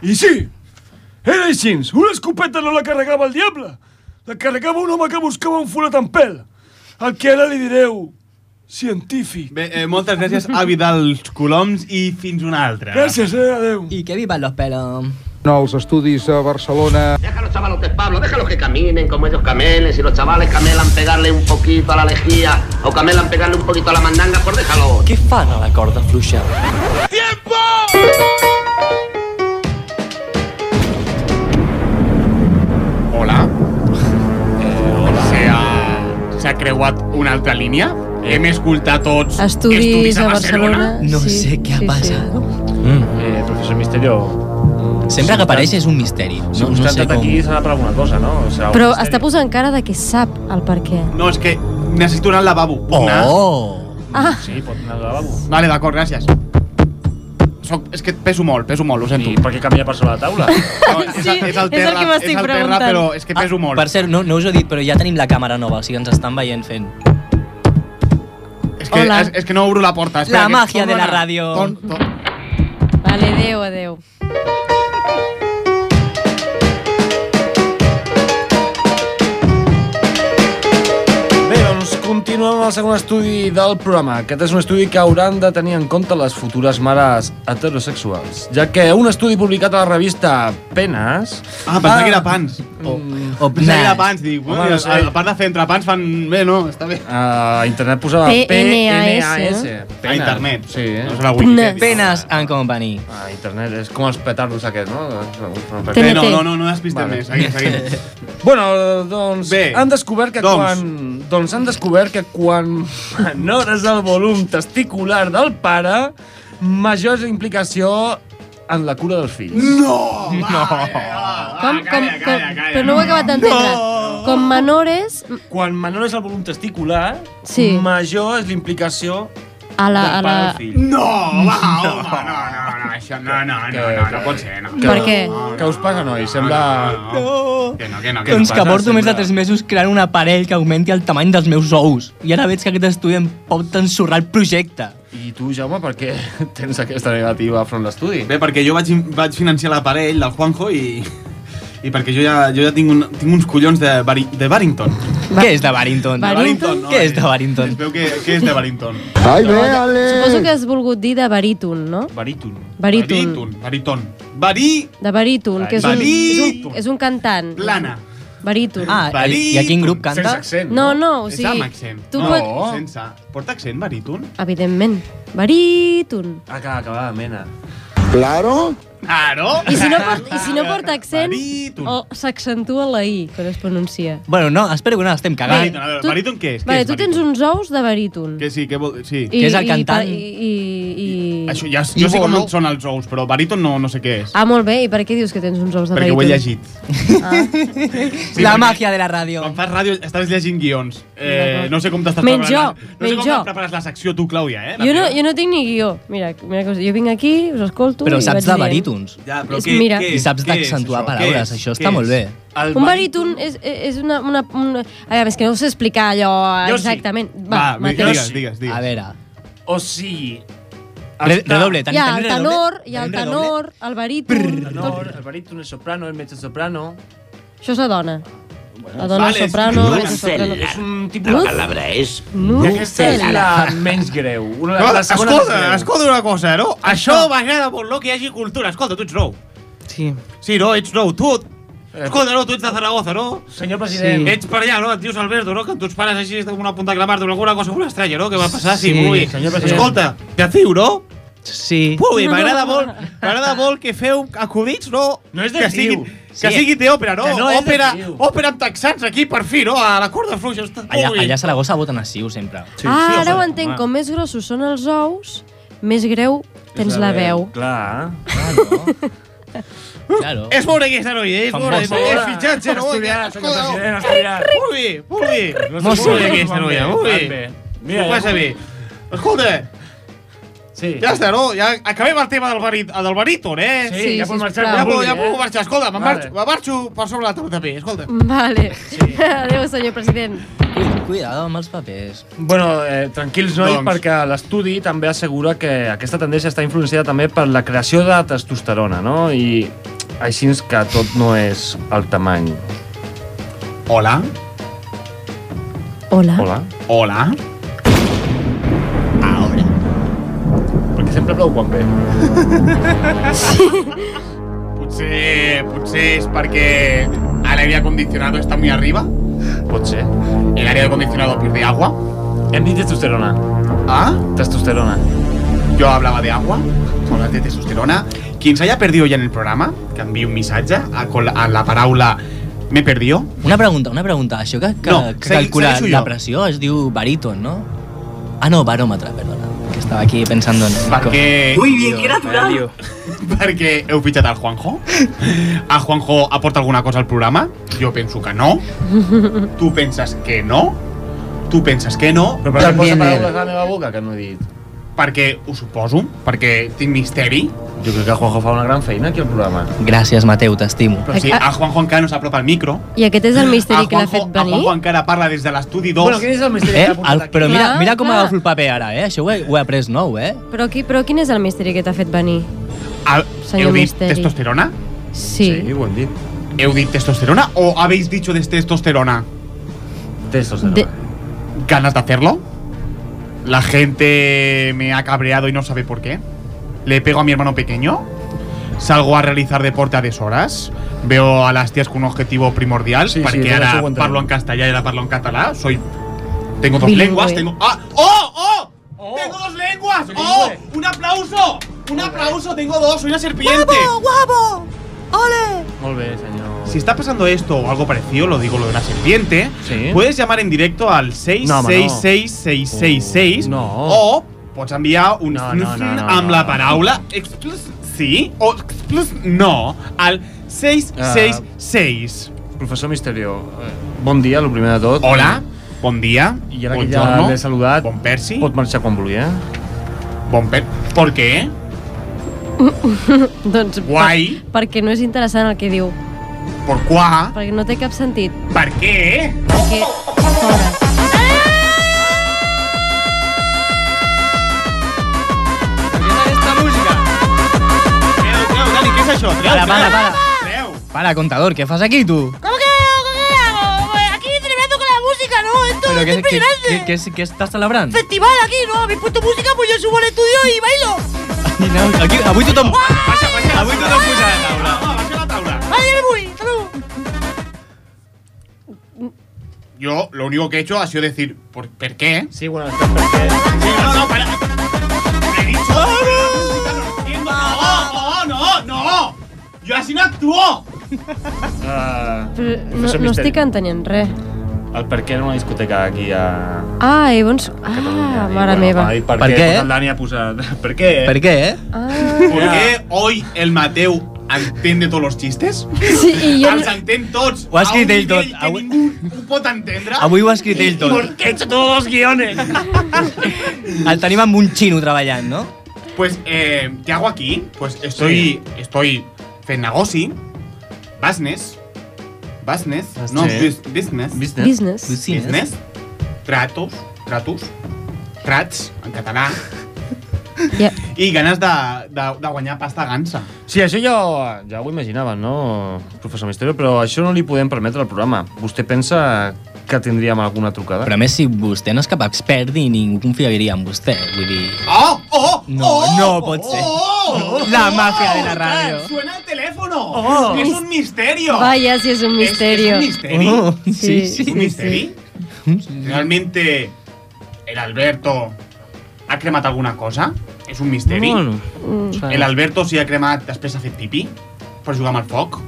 I sí, era així. Una escopeta no la carregava el diable. La carregava un home que buscava un forat en pèl. El que ara li direu científic.
Bé, eh, moltes gràcies, avi dels coloms, i fins una altra.
Gràcies, eh? Adéu.
I que vivan los pelos.
No, els estudis a Barcelona...
Déjalos chavalotes, Pablo, déjalos que caminen como ellos camelen. Si los chavales camelan pegarle un poquito a la lejía o camelan pegarle un poquito a la mandanga, pues déjalo.
Què fan a la corda fluixa?
¡Tiempo!
Hola.
Eh,
S'ha s'ha creuat una altra línia? Hem escoltat tots
Estudis a Barcelona,
No
sí,
sé què ha
sí, sí.
passat.
Eh, professor Misterio...
Mm. Sempre que apareix és un misteri.
Si
No,
us
no sé
cantat
com...
aquí serà per alguna cosa, no? Serà un
Però
misteri.
està posant cara de que sap el per què.
No, és que necessito anar al lavabo. Puc anar?
Oh!
Ah,
Sí, pot anar al lavabo.
Vale, d'acord, gràcies. Soc, és que peso molt, peso molt, ho sento. I
per què canvia per sobre la taula?
No, és, sí, és, el terra, és el terra, però és que peso
ah,
molt.
Per cert, no, no us ho he dit, però ja tenim la càmera nova, o sigui, ens estan veient fent.
És que,
Hola.
és, és que no obro la porta. Espera,
La
que
màgia
torno
de la
a anar.
ràdio.
Torn- torn-
vale, adéu, adéu.
Bé, doncs continuem amb el segon estudi del programa. Aquest és un estudi que hauran de tenir en compte les futures mares heterosexuals, ja que un estudi publicat a la revista Penes...
Ah, pensava que era Pans.
Oh.
O,
o
Pensava que era Pans, dic,
Home,
bueno,
no sé. Ah,
a part de fer entrepans fan... Bé, no, està bé.
A internet posava
P-N-A-S. A internet.
Sí, eh?
No serà Wikipedia.
Penes en company.
Ah,
A internet, és com els petardos aquests, no?
Bé, no, no, no, no despistem més. Seguim, seguim.
Bueno, doncs Bé, han descobert que
doncs.
quan... Doncs han descobert que quan menores el volum testicular del pare, major és la implicació en la cura dels fills.
No!
No!
Com, com, com, però no ho he acabat d'entendre. No. Com menores
Quan menor és el volum testicular,
Sí.
major és la implicació
a la...
del
A
pare
la...
del fill.
No, va, home, no, no, no, això no, no, no, no, no pot ser, no.
Per què?
Què us passa, nois? Sembla...
No. Que no, que no, que
doncs
no
que
passa,
porto més de
sembla-
3 mesos creant un aparell que augmenti el tamany dels meus ous. I ara veig que aquest estudi em pot ensorrar el projecte.
I tu, Jaume, per què tens aquesta negativa front l'estudi?
Bé, perquè jo vaig, vaig financiar l'aparell del Juanjo i... I perquè jo ja, jo ja tinc, un, tinc uns collons de, Bari, de Barrington.
Què és de Barrington?
De Barrington? eh?
Què és de
Es
Barrington?
veu que, que és de Barrington.
Ai, bé,
Suposo que has volgut dir de baríton, no?
Baríton.
Baríton.
Baríton. Barí...
De baríton, que és un, és un, és un cantant.
Plana.
Baríton.
Ah, i, i a quin grup canta?
Sense accent.
No, no, o sigui...
És amb accent.
Tu
no,
pot...
sense. Porta accent, baríton?
Evidentment. Baríton.
Ah, que acabava de mena.
Claro. Claro.
I si no, port, i si no porta accent, o s'accentua la I, quan es pronuncia.
Bueno, no, espero que no l'estem cagant.
Baríton, a veure, baríton què és?
Vale, tu tens uns ous de baríton.
Que sí, que vol... Sí.
I- i- I, i, i,
Això ja, jo sé com són els ous, però baríton no, no sé què és.
Ah, molt bé, i per què dius que tens uns ous de
perquè ho
baríton?
he llegit. Sí,
la
perquè
màgia de la ràdio.
Quan fas ràdio estàs llegint guions. Eh,
D'acord.
no sé com t'estàs
Menys
preparant.
jo,
no sé
menys
com
jo.
et prepares la secció tu, Clàudia, eh?
Jo no, jo no tinc ni guió. Mira, mira que us... jo vinc aquí, us escolto
Però
i
saps
vaig
de
dient.
barítons.
Ja,
però És- què- mira. què
I saps
és- què és
d'accentuar
això?
paraules,
Què és?
això
Què
està molt bé.
El
Un baríton és, és una, una, una... A veure, és que no us sé explicar allò
Jo sí.
exactament.
Va,
Mateu.
digues, digues,
A veure.
O sigui...
Re- redoble,
Hi ha el tenor, hi ha el tenor, el baríton...
Tenor, el baríton, el soprano, el mezzosoprano...
Això és la dona. La dona
Vale,
soprano,
és- Ah.
la soprano...
És un tipus...
Nuz-
és...
nuz-
I aquesta és la
Nucel·lar.
menys greu. Una,
No,
la segona
escolta,
més greu.
escolta una cosa, no? Això m'agrada molt, no? Que hi hagi cultura. Escolta, tu ets nou.
Sí.
Sí, no? Ets nou. Tu... Escolta, no? Tu ets de Zaragoza, no?
Senyor president.
Ets per allà, no? Et dius Alberto, no? Que tus pares així estan amb una punta clamar d'una alguna cosa molt estranya, no? Que va passar, sí,
Sí,
muy.
senyor president.
Escolta, de ciu, no?
Sí.
Ui, m'agrada molt, m'agrada molt que feu acudits, no?
No és de
que
ciu.
siguin, que
Sí.
sigui té òpera, no?
Que no és de
òpera,
ciu.
òpera amb texans aquí, per fi, no? A la corda fluixa. Ostres,
Allà,
ui.
allà a Saragossa voten a Siu, sempre.
Sí, ah, sí, ara ho entenc. Com més grossos són els ous, més greu tens la veu.
Clar.
Claro.
És molt aquesta noia, és
Fan
molt, és,
molt
és
bona.
fitxatge, no?
Asturiana,
Molt
senyor president, asturiana.
bé, molt bé.
No sé
Molt
molt
bé
bé,
aquesta
van
noia,
bé,
molt
van
bé.
bé.
Mira,
Mira,
ho passa
ja-
bé. Escolta,
Sí.
ja està, no? Ja acabem el tema del, barit, del baríton, eh?
Sí, Sí, ja pots marxar
Ja,
sisplau.
puc,
quan
ja
vulgui,
puc
eh?
marxar, escolta, me'n
Vale.
marxo, me'n marxo per sobre la eh? taula de paper, escolta.
Vale. Adéu, senyor president.
Cuidado amb els papers.
Bueno, eh, tranquils, nois,
Doncs.
perquè l'estudi també assegura que aquesta tendència està influenciada també per la creació de testosterona, no? I així és que tot no és el tamany.
Hola.
Hola.
Hola.
Hola.
Perquè sempre plou quan ve.
Potser, potser és perquè el aire acondicionado está muy arriba.
Pot ser.
El aire acondicionado pierde agua.
Hem dit testosterona.
Ah?
Testosterona.
Yo hablaba de agua, tú hablas de testosterona. Quien se haya perdido ya en el programa, que enviï un missatge a, con la, a la paraula me perdió.
Una pregunta, una pregunta. Això que, que,
No,
que
segui-
calcula
segueixo jo.
la pressió es diu baríton, no? Ah, no, baròmetre, perdona. Que estava aquí pensant en...
Perquè...
Muy bien, qué natural.
Perquè heu fitxat al Juanjo. El Juanjo aporta alguna cosa al programa? Jo penso que no. Tu penses que no. Tu penses que no.
Però per què posa paraules eh? a la meva boca que no he dit?
Perquè ho suposo, perquè tinc misteri.
Jo crec que Juanjo fa una gran feina aquí al programa.
Gràcies, Mateu, t'estimo.
Però sí, el Juanjo encara no s'apropa al micro.
I aquest és el misteri
El
que l'ha
Juanjo,
fet
el
venir?
Juanjo encara parla des de l'estudi 2.
Bueno, quin és el misteri
Eh? El, però mira,
Clar,
mira com
Ah, clar.
agafo el paper ara, eh? Això ho he, ho he après nou, eh?
Però, qui, però quin és el misteri que t'ha fet venir?
Ah,
Senyor
¿Heu dit
Misteri.
testosterona?
Sí.
Sí, ho hem dit.
¿Heu dit testosterona o habéis dicho de testosterona?
Testosterona.
De-
¿Ganas de hacerlo? ¿La gente me ha cabreado y no sabe por qué? ¿Le pego a mi hermano pequeño? ¿Salgo a realizar deporte a deshoras? ¿Veo a las tías con un objetivo primordial?
Sí, sí,
porque
todo eso
ahora
aguanta.
parlo en castellano y ahora parlo en catalán. Soy... Tengo dos
Bilingüe.
lenguas, tengo... ¡Ah! ¡Oh! ¡Oh! ¡Tengo dos lenguas! ¡Oh! ¡Un aplauso! ¡Un aplauso! ¡Tengo dos! ¡Soy una serpiente!
guapo! ¡Ole!
Molt bé, senyor.
Si está pasando esto o algo parecido, lo digo lo de una serpiente, puedes llamar en directo al
No, home, no.
6666666 o pots enviar un
Ah, No, no, no, no,
amb
no.
la paraula explus sí o explus no al 666.
Ah. Professor Misterio, eh, bon dia, el primer de tot.
Hola, bon dia.
I ara
bon
que ja
giorno,
l'he saludat,
bon Persi.
pot marxar quan vulgui, eh?
Bon per... Per què?
doncs, per-
Guai.
perquè no és interessant el que diu.
Per qua?
Perquè no té cap sentit.
Per què? Oh!
Perquè... Fora.
Dani, què és això?
Para, para, para.
Treu.
Para, contador, què fas aquí, tu?
¿Cómo que hago? ¿Cómo que hago? Pues Aquí celebrando con la música, ¿no? Esto
Però
es
què, què,
impresionante.
què, què, què estàs celebrant?
Festival aquí, ¿no? Habéis puesto música, pues yo subo al estudio y bailo.
Dineu, Aquí, avui tothom...
Baixa, baixa.
Avui tothom posa a la
Ah,
taula.
Vale, ya me voy. Hasta luego.
Yo lo único que he hecho ha sido decir, ¿por, ¿per qué?
Sí, bueno, es que ¿por qué?
no, no, para. He dicho. No, no, no, no. Yo así no actúo.
Uh,
Però no, no estic entenent res.
El per què era una discoteca aquí a...
Ah, i bons... Ah, mare meva.
Ai, per,
Per
què?
què?
Tot el Dani ha posat... Per què?
Per què, eh?
¿Por qué hoy el Mateu entiende todos los chistes?
Sí, i jo-
Els entén tots.
Ho ha escrit
a un
ell tot.
nivell Que ningú ho pot entendre.
Avui ho ha escrit ell tot.
¿Por qué he hecho todos los guiones?
El tenim amb un xino treballant, no?
Pues, eh, ¿qué hago aquí? Pues estoy. Estoy. Fenagosi. Business. Business. No,
Sí.
bus- business.
Business. Business.
Business. Tratos. Tratos. Trats, en català.
Yeah.
I ganes de, de, de guanyar pasta gansa.
Sí, això ja, ja ho imaginava, no, professor Misterio? Però això no li podem permetre al programa. Vostè pensa que tindríem alguna trucada?
Però a més, si vostè no és cap expert ni ningú confiaria en vostè, vull dir...
¡Oh! ¡Oh!
No, no pot ser.
Oh!
La mafia de la ràdio.
¡Suena el oh, teléfono!
Oh.
¡Es un misterio!
Vaya, si es un misterio.
¿Es, es un misterio?
Oh, sí, Sí, sí,
¿Un misterio? ¿Realmente el Alberto ha cremat alguna cosa? ¿Es un misterio?
Bueno,
Mm.
El Alberto s'hi ha cremat després ha fet pipí per jugar amb el foc?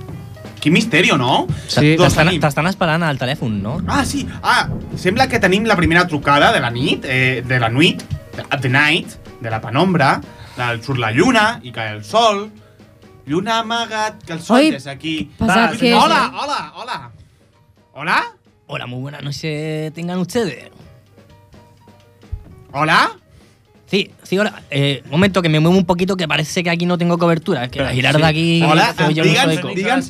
Quin misteri, no?
Sí,
Doncs
t'estan
tenim-
t'estan esperant al telèfon, no?
Ah, sí. Ah, sembla que tenim la primera trucada de la nit, eh, de la nuit, de, at the night, de la penombra, del surt la lluna i cae el sol, Lluna amagat, calzones aquí. Va,
pasa que-
Ah, Hola, hola, hola. Hola.
Hola, muy buenas noches tengan ustedes.
¿Hola?
Sí, sí, hola. Eh, un momento, que me muevo un poquito, que parece que aquí no tengo cobertura. Es que la
Pero,
girarda
sí.
aquí...
Hola, ah,
hace ya un
digue'ns-
sueco.
digue'ns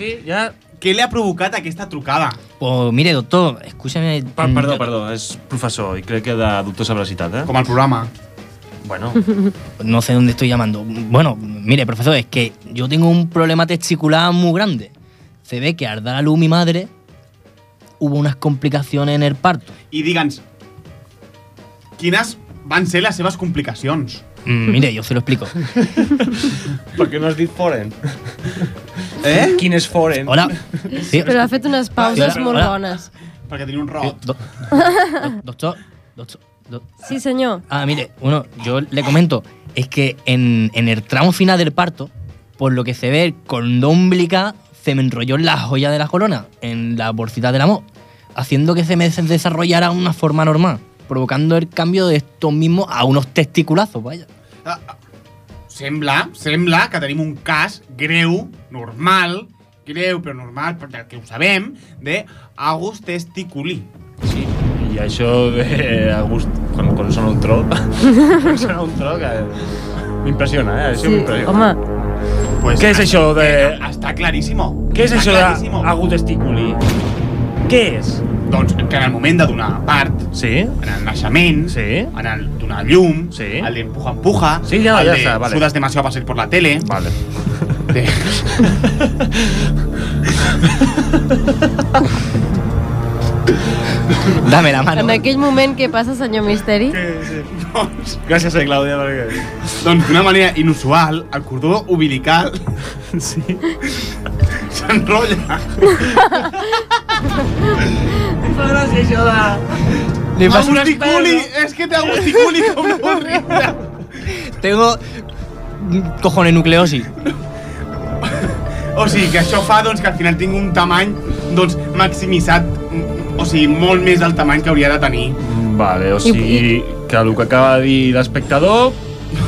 què li ha provocat aquesta trucada?
Pues mire, doctor, escúchame...
Per, perdó, perdó, és professor i crec que de dubtosa veracitat, eh?
Com el programa.
Bueno.
No sé dónde estoy llamando. Bueno, mire, profesor, es que yo tengo un problema testicular muy grande. Se ve que al dar a luz mi madre hubo unas complicaciones en el parto.
I digue'ns, quines van ser les seves complicacions?
Mm, mire, yo se lo explico.
¿Por qué no has dicho foreign?
¿Eh?
¿Quién es foreign?
Hola. Sí,
Però ha fet unes pauses
Hola.
molt
Hola.
bones.
Perquè tenia un rot.
Eh, doctor, doctor, doctor.
Sí, senyor.
Ah, mire, uno, yo le comento, es que en, en el tramo final del parto, por lo que se ve, el cordón umbilical se me enrolló en la joya de la corona, en la bolsita del amor, haciendo que se me des- desarrollara una forma normal, provocando el cambio de estos mismos a unos testiculazos, vaya.
Sembla, sembla que tenim un cas greu, normal, greu però normal, per del que ho sabem, de Agus Testiculí.
I això de a gust... Quan, quan sona un tro... quan sona un eh? tro que... M'impressiona, eh? Això m'impressiona.
Pues,
Què és això de...
Està claríssimo.
Què és
Està
això
claríssimo.
de agut testiculi? Què és?
Doncs que en el moment de donar a part,
sí.
en el naixement,
sí.
en el donar llum, sí. el d'empuja-empuja,
Sí, ja-
el
ja
de
està, vale.
sudas demasiado para salir por la tele.
Vale.
Dame la mano.
En aquell moment, què passa, senyor Misteri?
Gràcies, eh, Clàudia, perquè...
Doncs d'una manera inusual, el cordó umbilical sí. s'enrotlla.
Em fa gràcia això de...
Li
passa-
Agusticuli, és que té agusticuli com no vols riure.
Tengo cojones nucleosis.
O sigui, que això fa doncs, que al final tingui un tamany doncs, maximitzat, mm, o sigui, molt més del tamany que hauria de tenir.
Vale, o sigui, que el que acaba de dir l'espectador,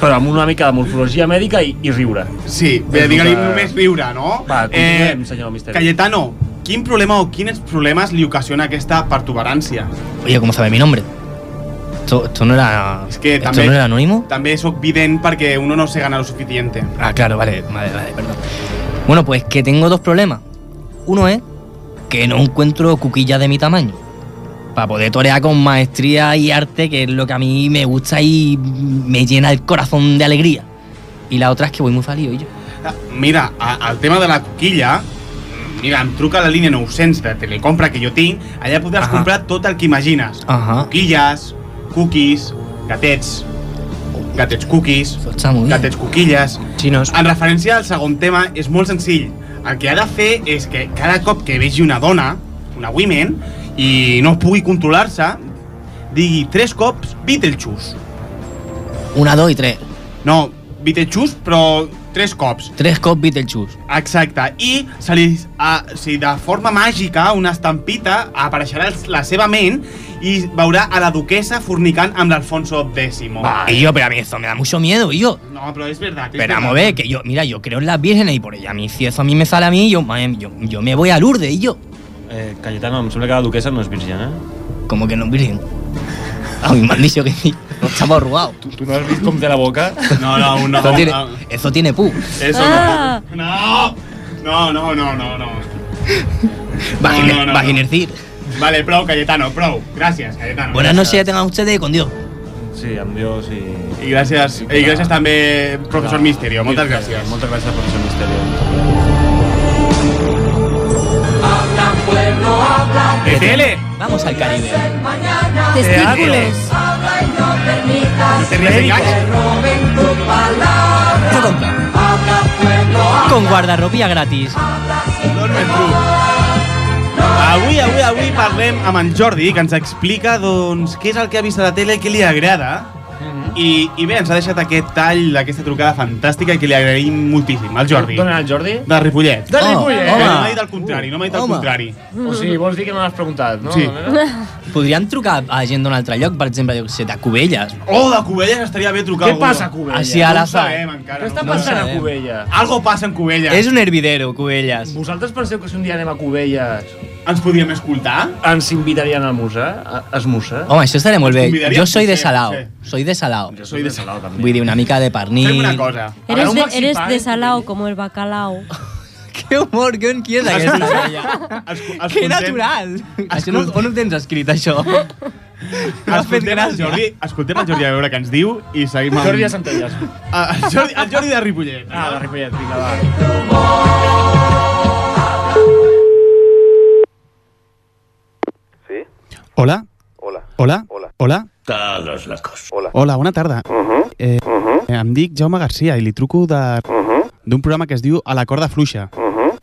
però amb una mica de morfologia mèdica i, i riure.
Sí, Bé, digue-li només riure, no? Eh,
Va, continuem, senyor Misteri.
Cayetano, quin problema o quins problemes li ocasiona aquesta protuberància?
Oye, ¿cómo sabe mi nombre? Esto, esto no era...
Es que
¿Esto
també-
no era anónimo?
També sóc vident perquè uno no se gana lo suficiente.
Ah, claro, vale, vale, vale, perdón. Bueno, pues que tengo dos problemas. Uno es que no encuentro cuquillas de mi tamaño. Para poder torear con maestría y arte, que es lo que a mí me gusta y me llena el corazón de alegría. Y la otra es que voy muy salido yo.
Mira, a- el tema de la coquilla, mira, em truca a la línia 900 de telecompra que jo tinc, allà podràs comprar tot el que imagines.
Ajá.
Coquilles, cookies, gatets, gatets cookies, gatets coquilles...
Chinos.
En referència al segon tema, és molt senzill. El que ha de fer és que cada cop que vegi una dona, una women, i no pugui controlar-se, digui tres cops Beetlejuice.
Una, dos y tres.
No, Beetlejuice, però tres cops.
Tres cops Beetlejuice.
Exacte, i se li, a, si de forma màgica, una estampita, apareixerà els- la seva ment i veurà a la duquesa fornicant amb l'Alfonso X.
Y yo, pero a mí eso me da mucho miedo, y yo.
No, però és verdad. és
Pero vamos a
verdad.
ver, que yo, mira, yo creo en las vírgenes y por ella. A mí, si eso a mí me sale a mí, yo, madre, yo, yo me voy a Lourdes, y yo.
Eh, Cayetano, em sembla que la duquesa no és virgen, eh?
Como que no es virgen. A mi me han dicho que sí. No estamos arrugados.
¿Tú, no has visto com té la boca?
No, no, un no.
Eso tiene, eso tiene pu.
Eso
Ah!
No! No, no, no, no, no.
Vaginer-
No, no, no,
vaginercir.
Vale, prou, Cayetano, prou. Gràcies, Cayetano.
Buenas noches, tengan ustedes con Dios.
Sí, amb Dios i...
I gràcies, i gràcies també, professor Misterio. Moltes gràcies.
Moltes gràcies, professor Misterio.
¡De tele!
Vamos al Caribe.
Testículos.
Habla y no permitas
Te ríes en
que
gags.
roben tu palabra.
Te compra.
Habla pueblo, habla.
Con guardarropía gratis.
Avui, avui, avui parlem amb en Jordi, que ens explica, doncs, què és el que ha vist a la tele, què li agrada, I, I bé, ens ha deixat aquest tall, aquesta trucada fantàstica que li agraïm moltíssim, al Jordi.
D'on era el Jordi?
De Ripollet.
De Ripollet!
Oh, Home. No m'ha dit el contrari, no m'ha dit el
Home.
contrari.
O sigui, vols dir que no l'has preguntat, no?
Sí.
Podrien trucar a gent d'un altre lloc, per exemple, jo què sé, de Cubelles.
Oh, de Cubelles estaria bé trucar
Què
algú.
passa a Cubelles? Així a
no ho
l'azar.
sabem encara.
Què està
no ho
passant a
sabem.
Cubelles?
Algo passa en Cubelles.
És un hervidero, Cubelles.
Vosaltres penseu que si un dia anem a Cubelles...
Ens podíem escoltar?
Ens invitarien al museu, a esmussar.
Home, això estaria molt bé.
Convidaria-
Jo soy de
sí,
Salao.
sí.
Soy de Salao.
Jo soy de Salou, també.
Vull dir, una mica de pernil...
Fem una cosa.
Eres de, eres de salao, com el bacalao.
Que humor, que on qui és aquesta? Que
Escoltem-
natural! Això no, on ho tens escrit, això?
Escoltem el Jordi, escoltem el Jordi a veure què ens diu i seguim amb...
Jordi de Centelles.
Ah, el Jordi, el Jordi de Ripollet. Ah, de
Ripollet, vinga, va.
Hola.
Hola.
Hola. Hola. Hola.
Todos locos. Hola.
Hola, bona tarda.
Uh-huh.
Ujú.
Eh,
Ujú.
em dic Jaume Garcia i li truco de... d'un programa que es diu A la corda fluixa.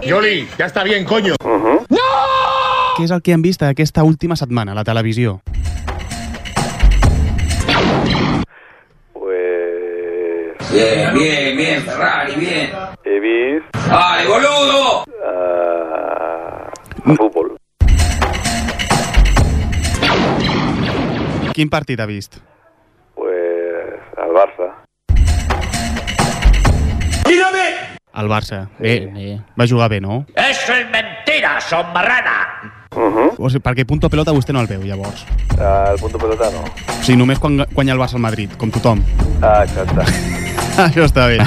Yoli, ya está bien, coño.
Què és el que hem vist aquesta última setmana a la televisió?
Bien, bien, bien, Ferrari, bien.
He visto
¡Vale, boludo!
fútbol.
Quin partit ha vist?
Pues al Barça.
¡Mírame!
El Barça. Bé, bé. Va jugar bé, no?
¡Eso es mentira, son marrana!
Uh-huh.
O sigui, perquè punto pelota vostè no el veu, llavors.
Al punto pelota no.
O sigui, només quan guanya el Barça al Madrid, com tothom.
Ah, exacto.
Això està bé.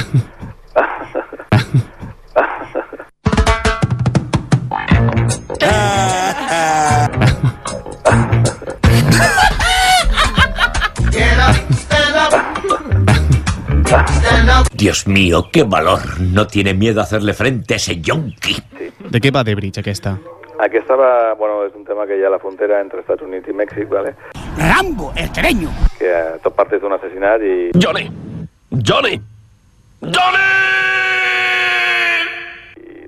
Dios mío, qué valor. No tiene miedo a hacerle frente a ese yonki.
De què va de bridge, aquesta?
Aquí estaba, bueno, es un tema que ya la frontera entre Estados Unidos y México, ¿vale?
¡Rambo, el treño!
Que a todas partes son asesinar y...
Johnny. Johnny.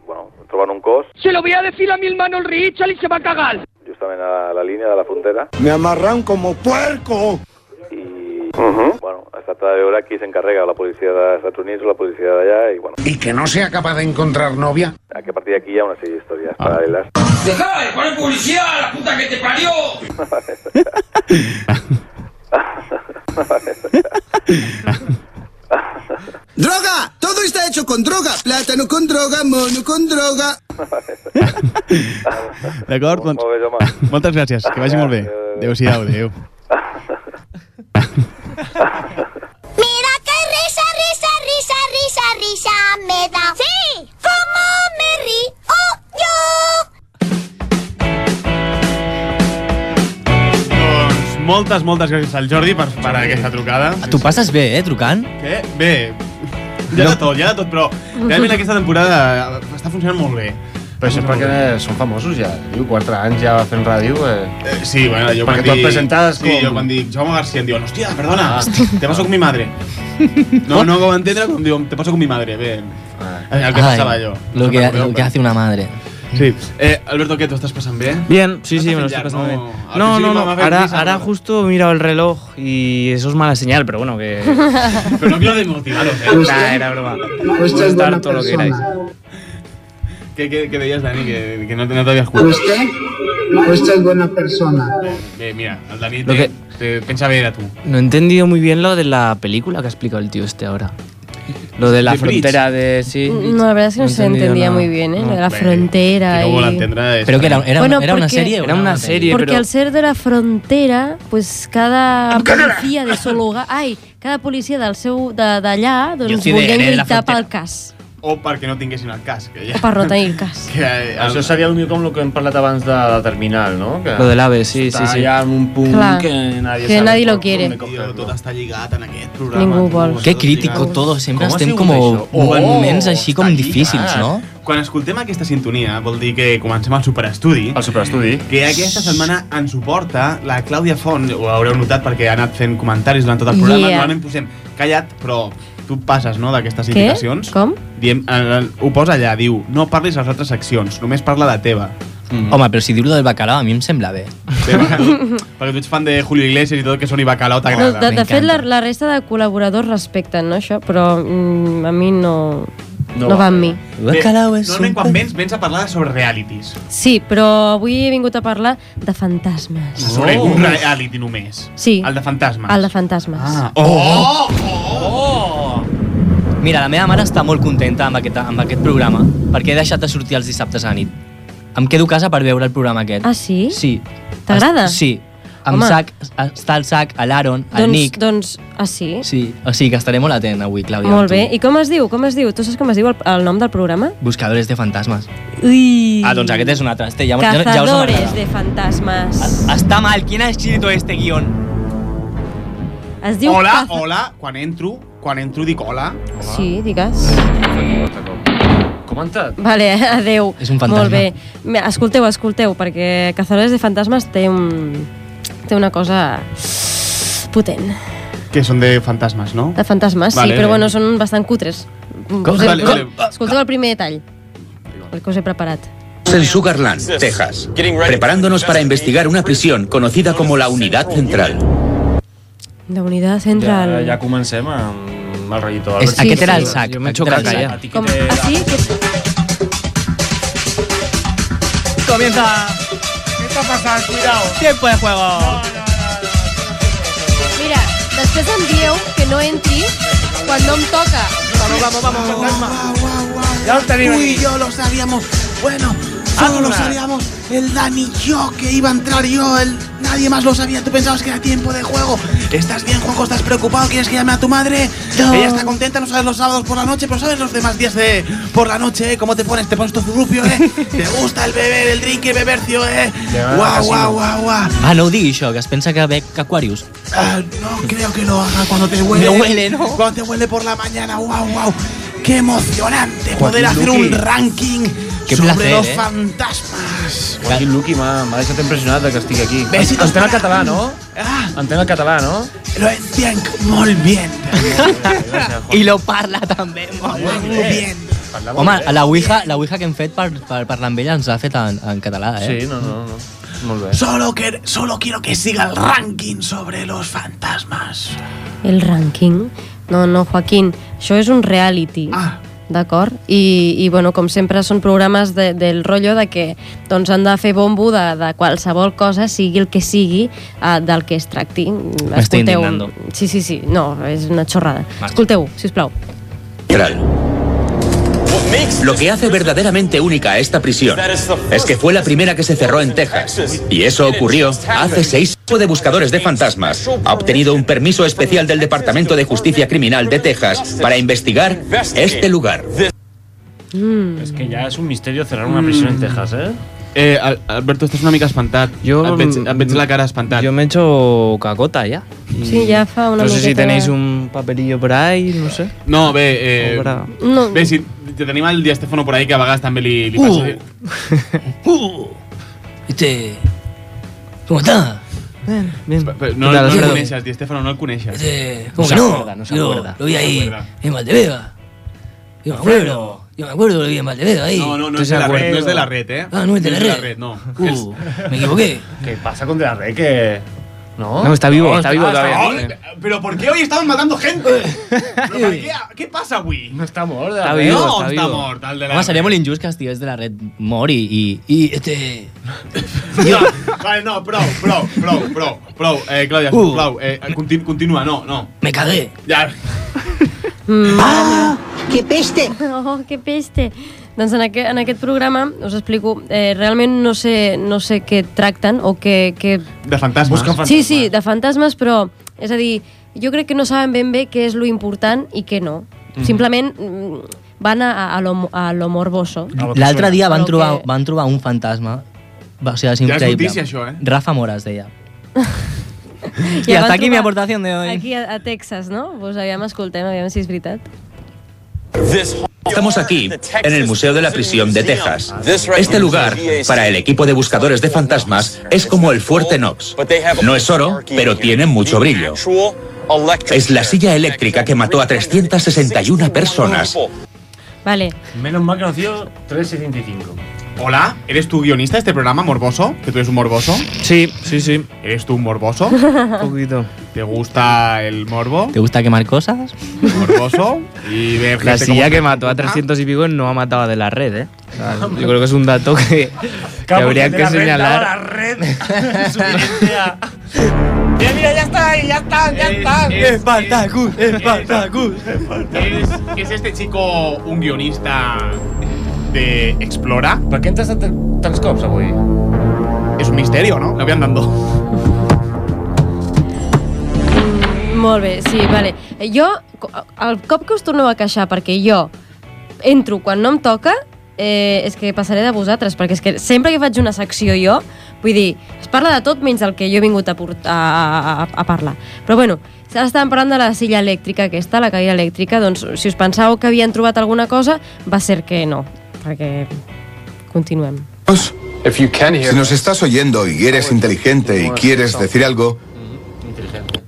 Bueno, troban un cos
Se lo voy a decir a mi hermano el Richard y se va a cagar.
justamente a la línea de la frontera.
Me amarran como puerco.
Bueno, hasta hora de hora aquí se encarrega la policía de Estados Unidos, la policía de allá y bueno,
Y que no sea capaz de encontrar novia.
a que partir de aquí ya una serie de historias
Ah.
paralelas.
¡Deja de poner publicidad a la puta que te parió!
¡Droga! Todo está hecho con droga. Plátano con droga, mono con droga.
D'acord? Doncs...
Molt bé,
home. Moltes gràcies, que vagi molt bé. Adéu-siau, adéu.
Mira qué risa, risa, risa, risa, risa me da. Sí. Cómo me río yo.
Doncs moltes, moltes gràcies al Jordi per, per aquesta trucada.
Tu passes bé, eh, trucant?
Què? Bé, ja de tot, ja de tot, però realment aquesta temporada eh, està funcionant molt bé.
Però això és perquè Eh, són famosos ja. Diu, 4 anys ja fent ràdio. Eh.
Eh, sí, bueno, jo
perquè tu et presentaves
sí,
com...
jo quan dic Jaume García em diuen, hòstia, perdona,
Ah.
te paso con mi madre. No, no ho va entendre quan diuen, te paso con mi madre, bé. El que
Ai,
passava jo.
Lo que, lo que hace una madre.
Sí. Eh, Alberto, ¿qué? ¿Tú estás pasando bien?
Bien, sí,
No
sí,
te
me lo
pillan,
estoy pasando
¿no?
bien.
Al
No,
principio
no,
me
no.
hace
Ahora,
prisa,
ahora
¿no?
justo he mirado el reloj y eso es mala señal, pero bueno, que.
Pero no quiero desmotivaros, ¿eh?
Nah, era broma. Puedes estar todo lo que queráis.
¿Qué, qué, qué veías, Dani? Que, que no, te- no te había escuchado.
Usted Pues es buena persona.
Bé, mira, el Dani
Lo
te,
que-
te pensaba ir a tú.
No he entendido muy bien lo de la película que ha explicado el tío este ahora. Lo de la
The Bridge.
frontera de. Sí.
Mm, No, la verdad es que no,
No he
se
entendido
entendía
nada.
muy bien, ¿eh? Lo de la
Hombre,
frontera y...
Pero que era, era,
Bueno,
era una
porque-
serie. Era una serie,
Porque
pero.
al ser de la frontera, pues cada policia del seu lugar... Ai, cada policia del seu de- d'allà,
Jo
doncs,
sí de-
vulguem
de la
gritar
frontera.
pel cas.
O perquè no tinguessin el cas. Que ja...
O per no tenir el cas.
Que, eh,
Això seria el com el que hem parlat abans de la terminal, no? Que
Lo del AVE, sí,
està
sí, sí.
ja en un punt
Clar.
que nadie
Que
sabe
nadie lo
por
quiere.
dónde cogerlo.
Tot està lligat en aquest programa.
Ningú vol.
Qué crítico todo, siempre
Com ha
estem
sigut
com
això?
moments així com difícils,
Ah,
no?
Quan escoltem aquesta sintonia vol dir que comencem el superestudi. El
superestudi.
Que aquesta setmana ens ho porta la Clàudia Font. Ho haureu notat perquè ha anat fent comentaris durant tot el programa.
Yeah.
Normalment posem callat, però tu passes, no?, d'aquestes
Què?
indicacions.
Com?
Diem, eh, eh, ho posa allà, diu, no parlis a les altres seccions, només parla la teva.
Mm. Home, però si diu-lo del bacalao, a mi em sembla bé.
Perquè tu ets fan de Julio Iglesias i tot el que són i bacalao
No,
t'agrada.
de, de fet, la, la resta de col·laboradors respecten no, això, però mm, a mi no, no, no va amb mi.
Bacalao és Oh. Normalment quan vens, vens a parlar sobre realities.
Sí, però avui he vingut a parlar de fantasmes.
Sobre un reality només.
Sí.
El de fantasmes.
El de fantasmes. Ah,
Oh!
¡Oh! Mira, la meva mare està molt contenta amb aquest, amb aquest programa perquè he deixat de sortir els dissabtes a la nit. Em quedo a casa per veure el programa aquest.
Ah, sí?
Sí.
T'agrada?
Es- Sí. Amb
Home.
sac, està el sac, a l'Aaron, el
doncs,
Nick.
Doncs, ah, sí?
Sí, o sigui que estaré molt atent avui, Clàudia. amb
Molt
tu.
bé. I com es diu? Com es diu? Tu saps com es diu el, el nom del programa?
Buscadores de fantasmes.
Ui.
Ah, doncs aquest és un altre. Este, ja, ja, ja us ho
Cazadores
mandarà.
de fantasmes.
Està mal, quin ha escrit este guion?
Es diu...
Hola,
caza-
hola, quan entro, quan entro dic hola.
Sí, digues.
Com ha entrat?
Vale, adeu.
És un fantasma.
Molt bé. Me- Escolteu, escolteu, perquè Cazadores de Fantasmes té un... té una cosa potent.
Que són de fantasmes, no?
De fantasmes,
Vale,
sí, però
bé.
bueno, són bastant cutres.
Com?
Us he-
Vale, vale.
Escolteu el primer detall, el que us he preparat.
En Sugarland, Texas, preparándonos para investigar una prisión conocida como la Unidad Central.
La unidad central.
Ja, ja comencem amb el rellito.
És- aquest era el sac,
Jo m'he
aquest
xocat,
era el sac.
ja. A ti que
Com,
te-
ah, sí? Que-
Comienza.
¿Qué está pasando? Cuidado.
Tiempo de juego.
Mira, després em dieu que no entri quan no em toca. Vamos, vamos, vamos.
Ya lo tenéis
Uy,
aquí.
yo lo sabíamos. Bueno, solo lo
Hazla.
sabíamos el Dani y yo que iba a entrar yo. El... Nadie más lo sabía. Tú pensabas que era tiempo de juego. ¿Estás bien, Juanjo? ¿Estás preocupado? ¿Quieres que llame a tu madre?
No.
Ella está contenta, no sabes los sábados por la noche, pero sabes los demás días de por la noche, ¿eh? ¿Cómo te pones? ¿Te pones tu zurrupio, eh? ¿Te gusta el beber, el drink, el bebercio, eh?
Ya,
Guau,
casi no.
guau, guau, guau.
Ah, no ho digui això, que es pensa que bec Aquarius.
Ah, no creo que lo haga cuando te huele.
Me huele, ¿no?
Cuando te huele por la mañana, wow, wow. Qué emocionante
Joaquín
poder hacer
Luqui.
un ranking
Qué
sobre
placer,
los
eh.
fantasmas.
Joaquín Luqui m'ha m'ha deixat impressionat de que estic aquí.
Besitos
Entén el
para
català,
mí.
no?
Ah,
Entén el català, no?
lo entiendo muy bien.
I lo parla també molt
Muy bien.
Home, la ouija, la ouija que hem fet per, per parlar amb ella ens ha fet en, en català, eh?
Sí, no, no, no. Molt bé.
Solo, que, solo quiero que siga el ranking sobre los fantasmas.
El ranking? No, no, Joaquín, això és un reality.
Ah.
D'acord? I, I, bueno, com sempre, són programes de, del rotllo de que doncs, han de fer bombo de, de qualsevol cosa, sigui el que sigui, eh, del que es tracti.
M'estic
Escolteu-
indignando.
Sí, sí, sí. No, és una xorrada.
Marxa.
Escolteu, si us plau.
Lo que hace verdaderamente única a esta prisión es que fue la primera que se cerró en Texas. Y eso ocurrió hace seis de buscadores de fantasmas. Ha obtenido un permiso especial del Departamento de Justicia Criminal de Texas para investigar este lugar.
Mm.
És que ja és un misteri cerrar una prisió en Texas, eh?
Eh, Al- Alberto, estàs una mica espantat. Jo... Et veig, et veig la cara espantat. Jo
m'echo cacota, ja.
Sí, ja fa una
No sé si
miqueta
tenéis
de-
un papelillo por ahí, no sé.
No, bé... Eh,
Obra.
No.
Bé, si te tenim el Diastefano por ahí, que a vegades també li, Uh. li passa...
Uh.
Uh. Este... ¿Cómo está?
Bien, bien.
No, no, el
tal, Alfredo?
coneixes, Diastefano, no el coneixes.
Eh, ¿Cómo que no? Yo Lo vi ahí en Valdevega. Yo me acuerdo. Yo me acuerdo, lo vi en Valdevega ahí.
No, no, no es de la red, no es de la red, eh.
Ah, no es de la red.
no.
Uh, me equivoqué.
¿Qué pasa con De la Rey? Que... No,
No, está vivo, está vivo
Ah,
todavía.
está- Pero ¿por qué hoy estamos matando gente? Però per què, què passa avui?
No està mort,
Está vivo,
no,
está
està
vivo.
mort, el de la
Home, seria molt injust que estigués de la red mort i... i, i este...
No, vale, no, prou, prou, prou, prou, prou. Eh, Clàudia,
Uh.
sisplau, eh, continu, continua, no, no.
Me cagué.
Ja.
Ah, que peste! Oh, que peste! Doncs en aquest, en aquest programa, us explico, eh, realment no sé, no sé què tracten o què... què... Ah,
De fantasmes.
Sí, sí, de fantasmes, però, és a dir, jo crec que no saben ben bé què és lo important i què no.
Mhm.
Simplement mm, van a, a, lo, a lo morboso.
Ah,
L'altre dia van
Però
trobar, van trobar un fantasma. Va, o sigui,
pues
és
Ja és
increïble.
notícia, això, eh?
Rafa Mora es deia.
que-
I
ja
hasta
van
aquí mi
trobar
aportación de hoy.
Aquí a, a Texas, no? Pues aviam, escoltem, aviam si és veritat.
Estamos aquí, en el Museo de la Prisión de Texas. Este lugar, para el equipo de buscadores de fantasmas, es como el Fuerte Knox. No es oro, pero tiene mucho brillo. Es la silla eléctrica que mató a 361 personas.
Vale.
Menos mal que nació 375.
Hola, ¿eres tú guionista de este programa, Morboso? ¿Que tú eres un morboso?
Sí, sí, sí.
¿Eres tú un morboso?
poquito.
¿Te gusta el morbo?
¿Te gusta quemar cosas?
Morboso. Y ver
La
gente
este
silla
como-
que
¿Ah?
mató a 300 y pico no ha matado a de la red, ¿eh? O sea, yo creo que es un dato que, que
Claro,
habría
porque
que
de la
señalar.
red, daba la red. Su idea. Mira, mira, ya está ahí, ya está, ya está.
Spartacus, Spartacus, ¿Es, ¿Es este chico un guionista de Explora?
Per què entres tants cops avui?
És un misteri, no? La voy andando.
Molt bé, sí, vale. Jo, co- el cop que us torneu a queixar perquè jo entro quan no em toca, eh, és que passaré de vosaltres, perquè és que sempre que faig una secció jo, vull dir, es parla de tot menys del que jo he vingut a, port- a, a, a parlar. Però bueno, ara estàvem parlant de la silla elèctrica aquesta, la cadira elèctrica, doncs si us pensàveu que havien trobat alguna cosa, va ser que no, perquè continuem.
Si nos estás oyendo y eres inteligente y quieres decir algo,
Eh,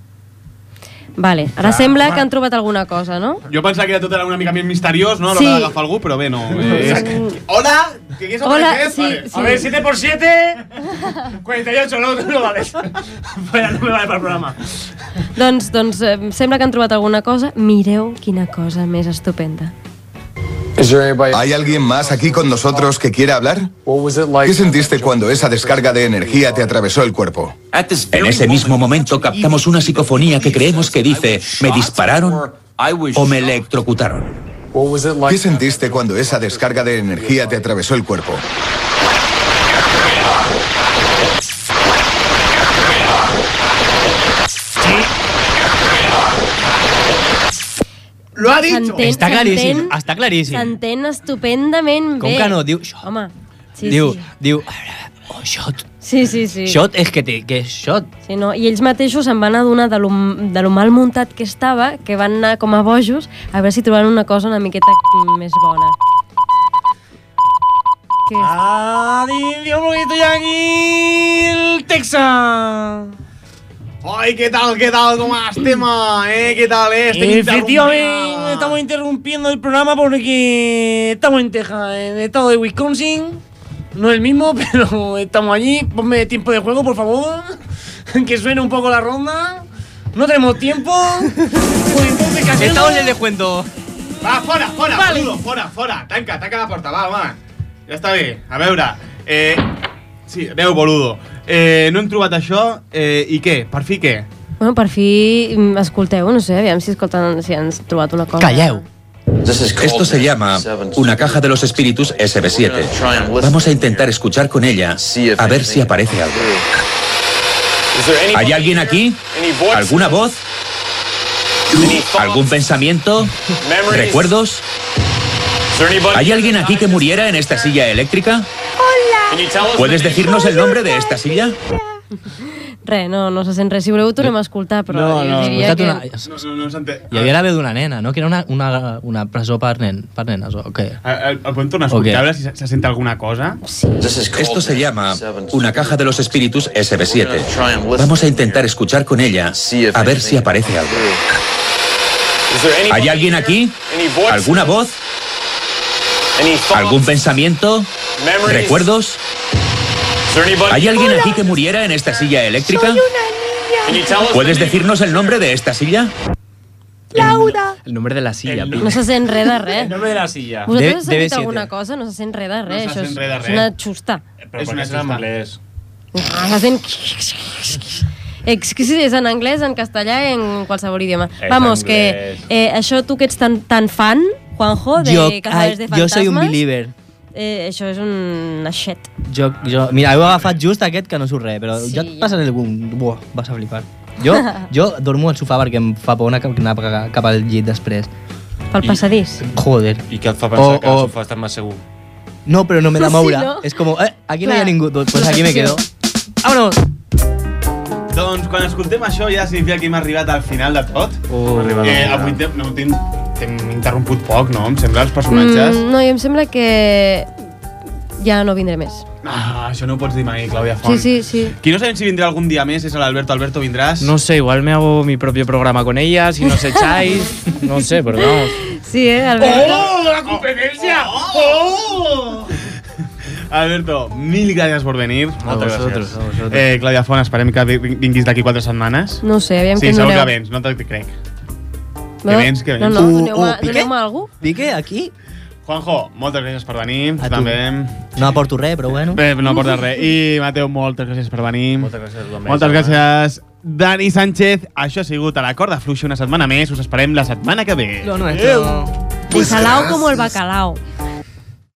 Vale, ara
Clar,
sembla
Ah,
home.
que han trobat alguna cosa, no?
Jo pensava que era tot era una mica més misteriós, no? A l'hora
Sí.
d'agafar algú, però bé, no. És...
Hola,
¿qué quieres
Hola, aparecer? sí,
vale.
sí.
A ver, 7 por 7 48, no, tú no vales. Fuera, no me vale para el programa.
Doncs, doncs eh, em sembla que han trobat alguna cosa. Mireu quina cosa més estupenda.
¿hay alguien más aquí con nosotros que quiera hablar? ¿Qué sentiste cuando esa descarga de energía te atravesó el cuerpo?
En ese mismo momento captamos una psicofonía que creemos que dice, me dispararon o me electrocutaron.
¿Qué sentiste cuando esa descarga de energía te atravesó el cuerpo?
Lo ha
dicho.
Està claríssim, està claríssim.
S'entén estupendament
Com
bé.
que no? Diu, "Xo".
Home, sí,
diu,
sí.
diu, oh, shot.
Sí, sí, sí.
Shot és que, te, que és shot.
Sí, no? I ells mateixos se'n van adonar de lo, de lo mal muntat que estava, que van anar com a bojos, a veure si trobaven una cosa una miqueta més bona. Què
Ah.
és?
Adiós, poquito Yankee, el Texas.
Ay, ¿qué tal, qué tal? ¿Cómo más tema? ¿Eh? ¿Qué tal? Eh? Estic
Efectivamente, estamos interrumpiendo el programa porque estamos en Texas, en el estado de Wisconsin. No el mismo, pero estamos allí. Ponme tiempo de juego, por favor. Que suene un poco la ronda. No tenemos tiempo. Pues entonces, ¿qué hacemos?
descuento.
Va, fora, fora, vale. boludo, fora, fora. Tanca, tanca la porta, va, home. Ja està bé, a veure. Eh, sí, adeu, boludo. Eh, no hem trobat això, eh, i què? Per fi què?
Bueno, per fi, mm, escolteu, no sé, aviam si escolten, si han trobat una cosa. Calleu!
Esto se llama una caja de los espíritus SB7. Vamos a intentar escuchar con ella a ver si aparece algo. ¿Hay alguien aquí? ¿Alguna voz? ¿Algún pensamiento? ¿Recuerdos? ¿Hay alguien aquí que muriera en esta silla eléctrica? ¿Puedes decirnos el nombre de esta silla?
Re, no, no se sent res. Si voleu ho tornem a escoltar, però
No,
jo
no,
diria
escolta't
que...
una-
No, Pues no, no s'entén.
Hi havia la veu d'una nena, no? Que era una, una, una presó per, nen, per nenes, o què?
El, Ah, el, el podem tornar a escoltar, a veure si se, se sent alguna cosa?
Sí.
Esto se llama una caja de los espíritus SB7. Vamos a intentar escuchar con ella a ver si aparece algo. ¿Hay alguien aquí? ¿Alguna voz? ¿Algún pensamiento? ¿Recuerdos? ¿Hay alguien aquí que muriera en esta silla eléctrica? ¿Puedes decirnos el nombre de esta silla?
Laura. El nombre de la silla.
No se sent res de res.
nombre de la silla.
Vosaltres heu sentit alguna cosa? No se sent res de res.
No se
Això és,
sent res de
és
res.
una xusta.
Però és una en anglès.
Ah, se sent... Exquisite, és en anglès, en castellà i en qualsevol idioma.
És
Vamos, que
anglès.
eh, això tu que ets tan, tan fan, Juanjo, de
jo,
Cazadores de
ai, jo
Fantasmas...
soy un believer.
Eh, això és un aixet.
Jo, jo, mira, heu agafat just aquest que no surt res, però sí, jo et passaré algun... Buah, vas a flipar. Jo, jo dormo al sofà perquè em fa por anar cap, anar cap- cap al llit després.
Pel passadís.
Joder.
I què et fa
pensar O- que el o-
sofà està més segur?
No, però no me da
Sí,
moure.
no?
És com, eh, aquí no hi
Clar.
ha ningú, doncs pues aquí me quedo. Vámonos!
Doncs quan escoltem això ja significa que hem arribat al final de tot.
Oh,
eh, avui t'hem no, t'hem- t'hem interromput poc, no? Em sembla, els personatges.
Mm, no, jo em sembla que ja no vindré més.
Ah, això no ho pots dir mai, Clàudia Font.
Mm. Sí, sí, sí.
Qui no sabem si vindrà algun dia més és l'Alberto. Alberto, vindràs?
No sé, igual me hago mi propio programa con ella, si nos echáis. No sé, pero vamos.
Sí, eh, Alberto?
¡Oh, la competencia! ¡Oh!
Alberto, mil gràcies per venir. Moltes
vosaltres,
gràcies. Eh, Clàudia Font, esperem que vi- vinguis d'aquí quatre setmanes.
No ho sé, aviam
Sí,
que
segur
doneu.
que vens, no te crec.
No,
Que vens, que
no,
vens.
no, doneu-me doneu algú.
Oh, Piqué, aquí. Juanjo, moltes gràcies per venir.
A
A
tu.
també.
No aporto res, però bueno.
Eh, no portes res. I Mateu, moltes gràcies per venir. Moltes gràcies.
també,
Moltes
Isaac.
gràcies. Dani Sánchez, això ha sigut a la corda fluixa una setmana més. Us esperem la setmana que ve.
Lo nuestro. Bacalao como el bacalao.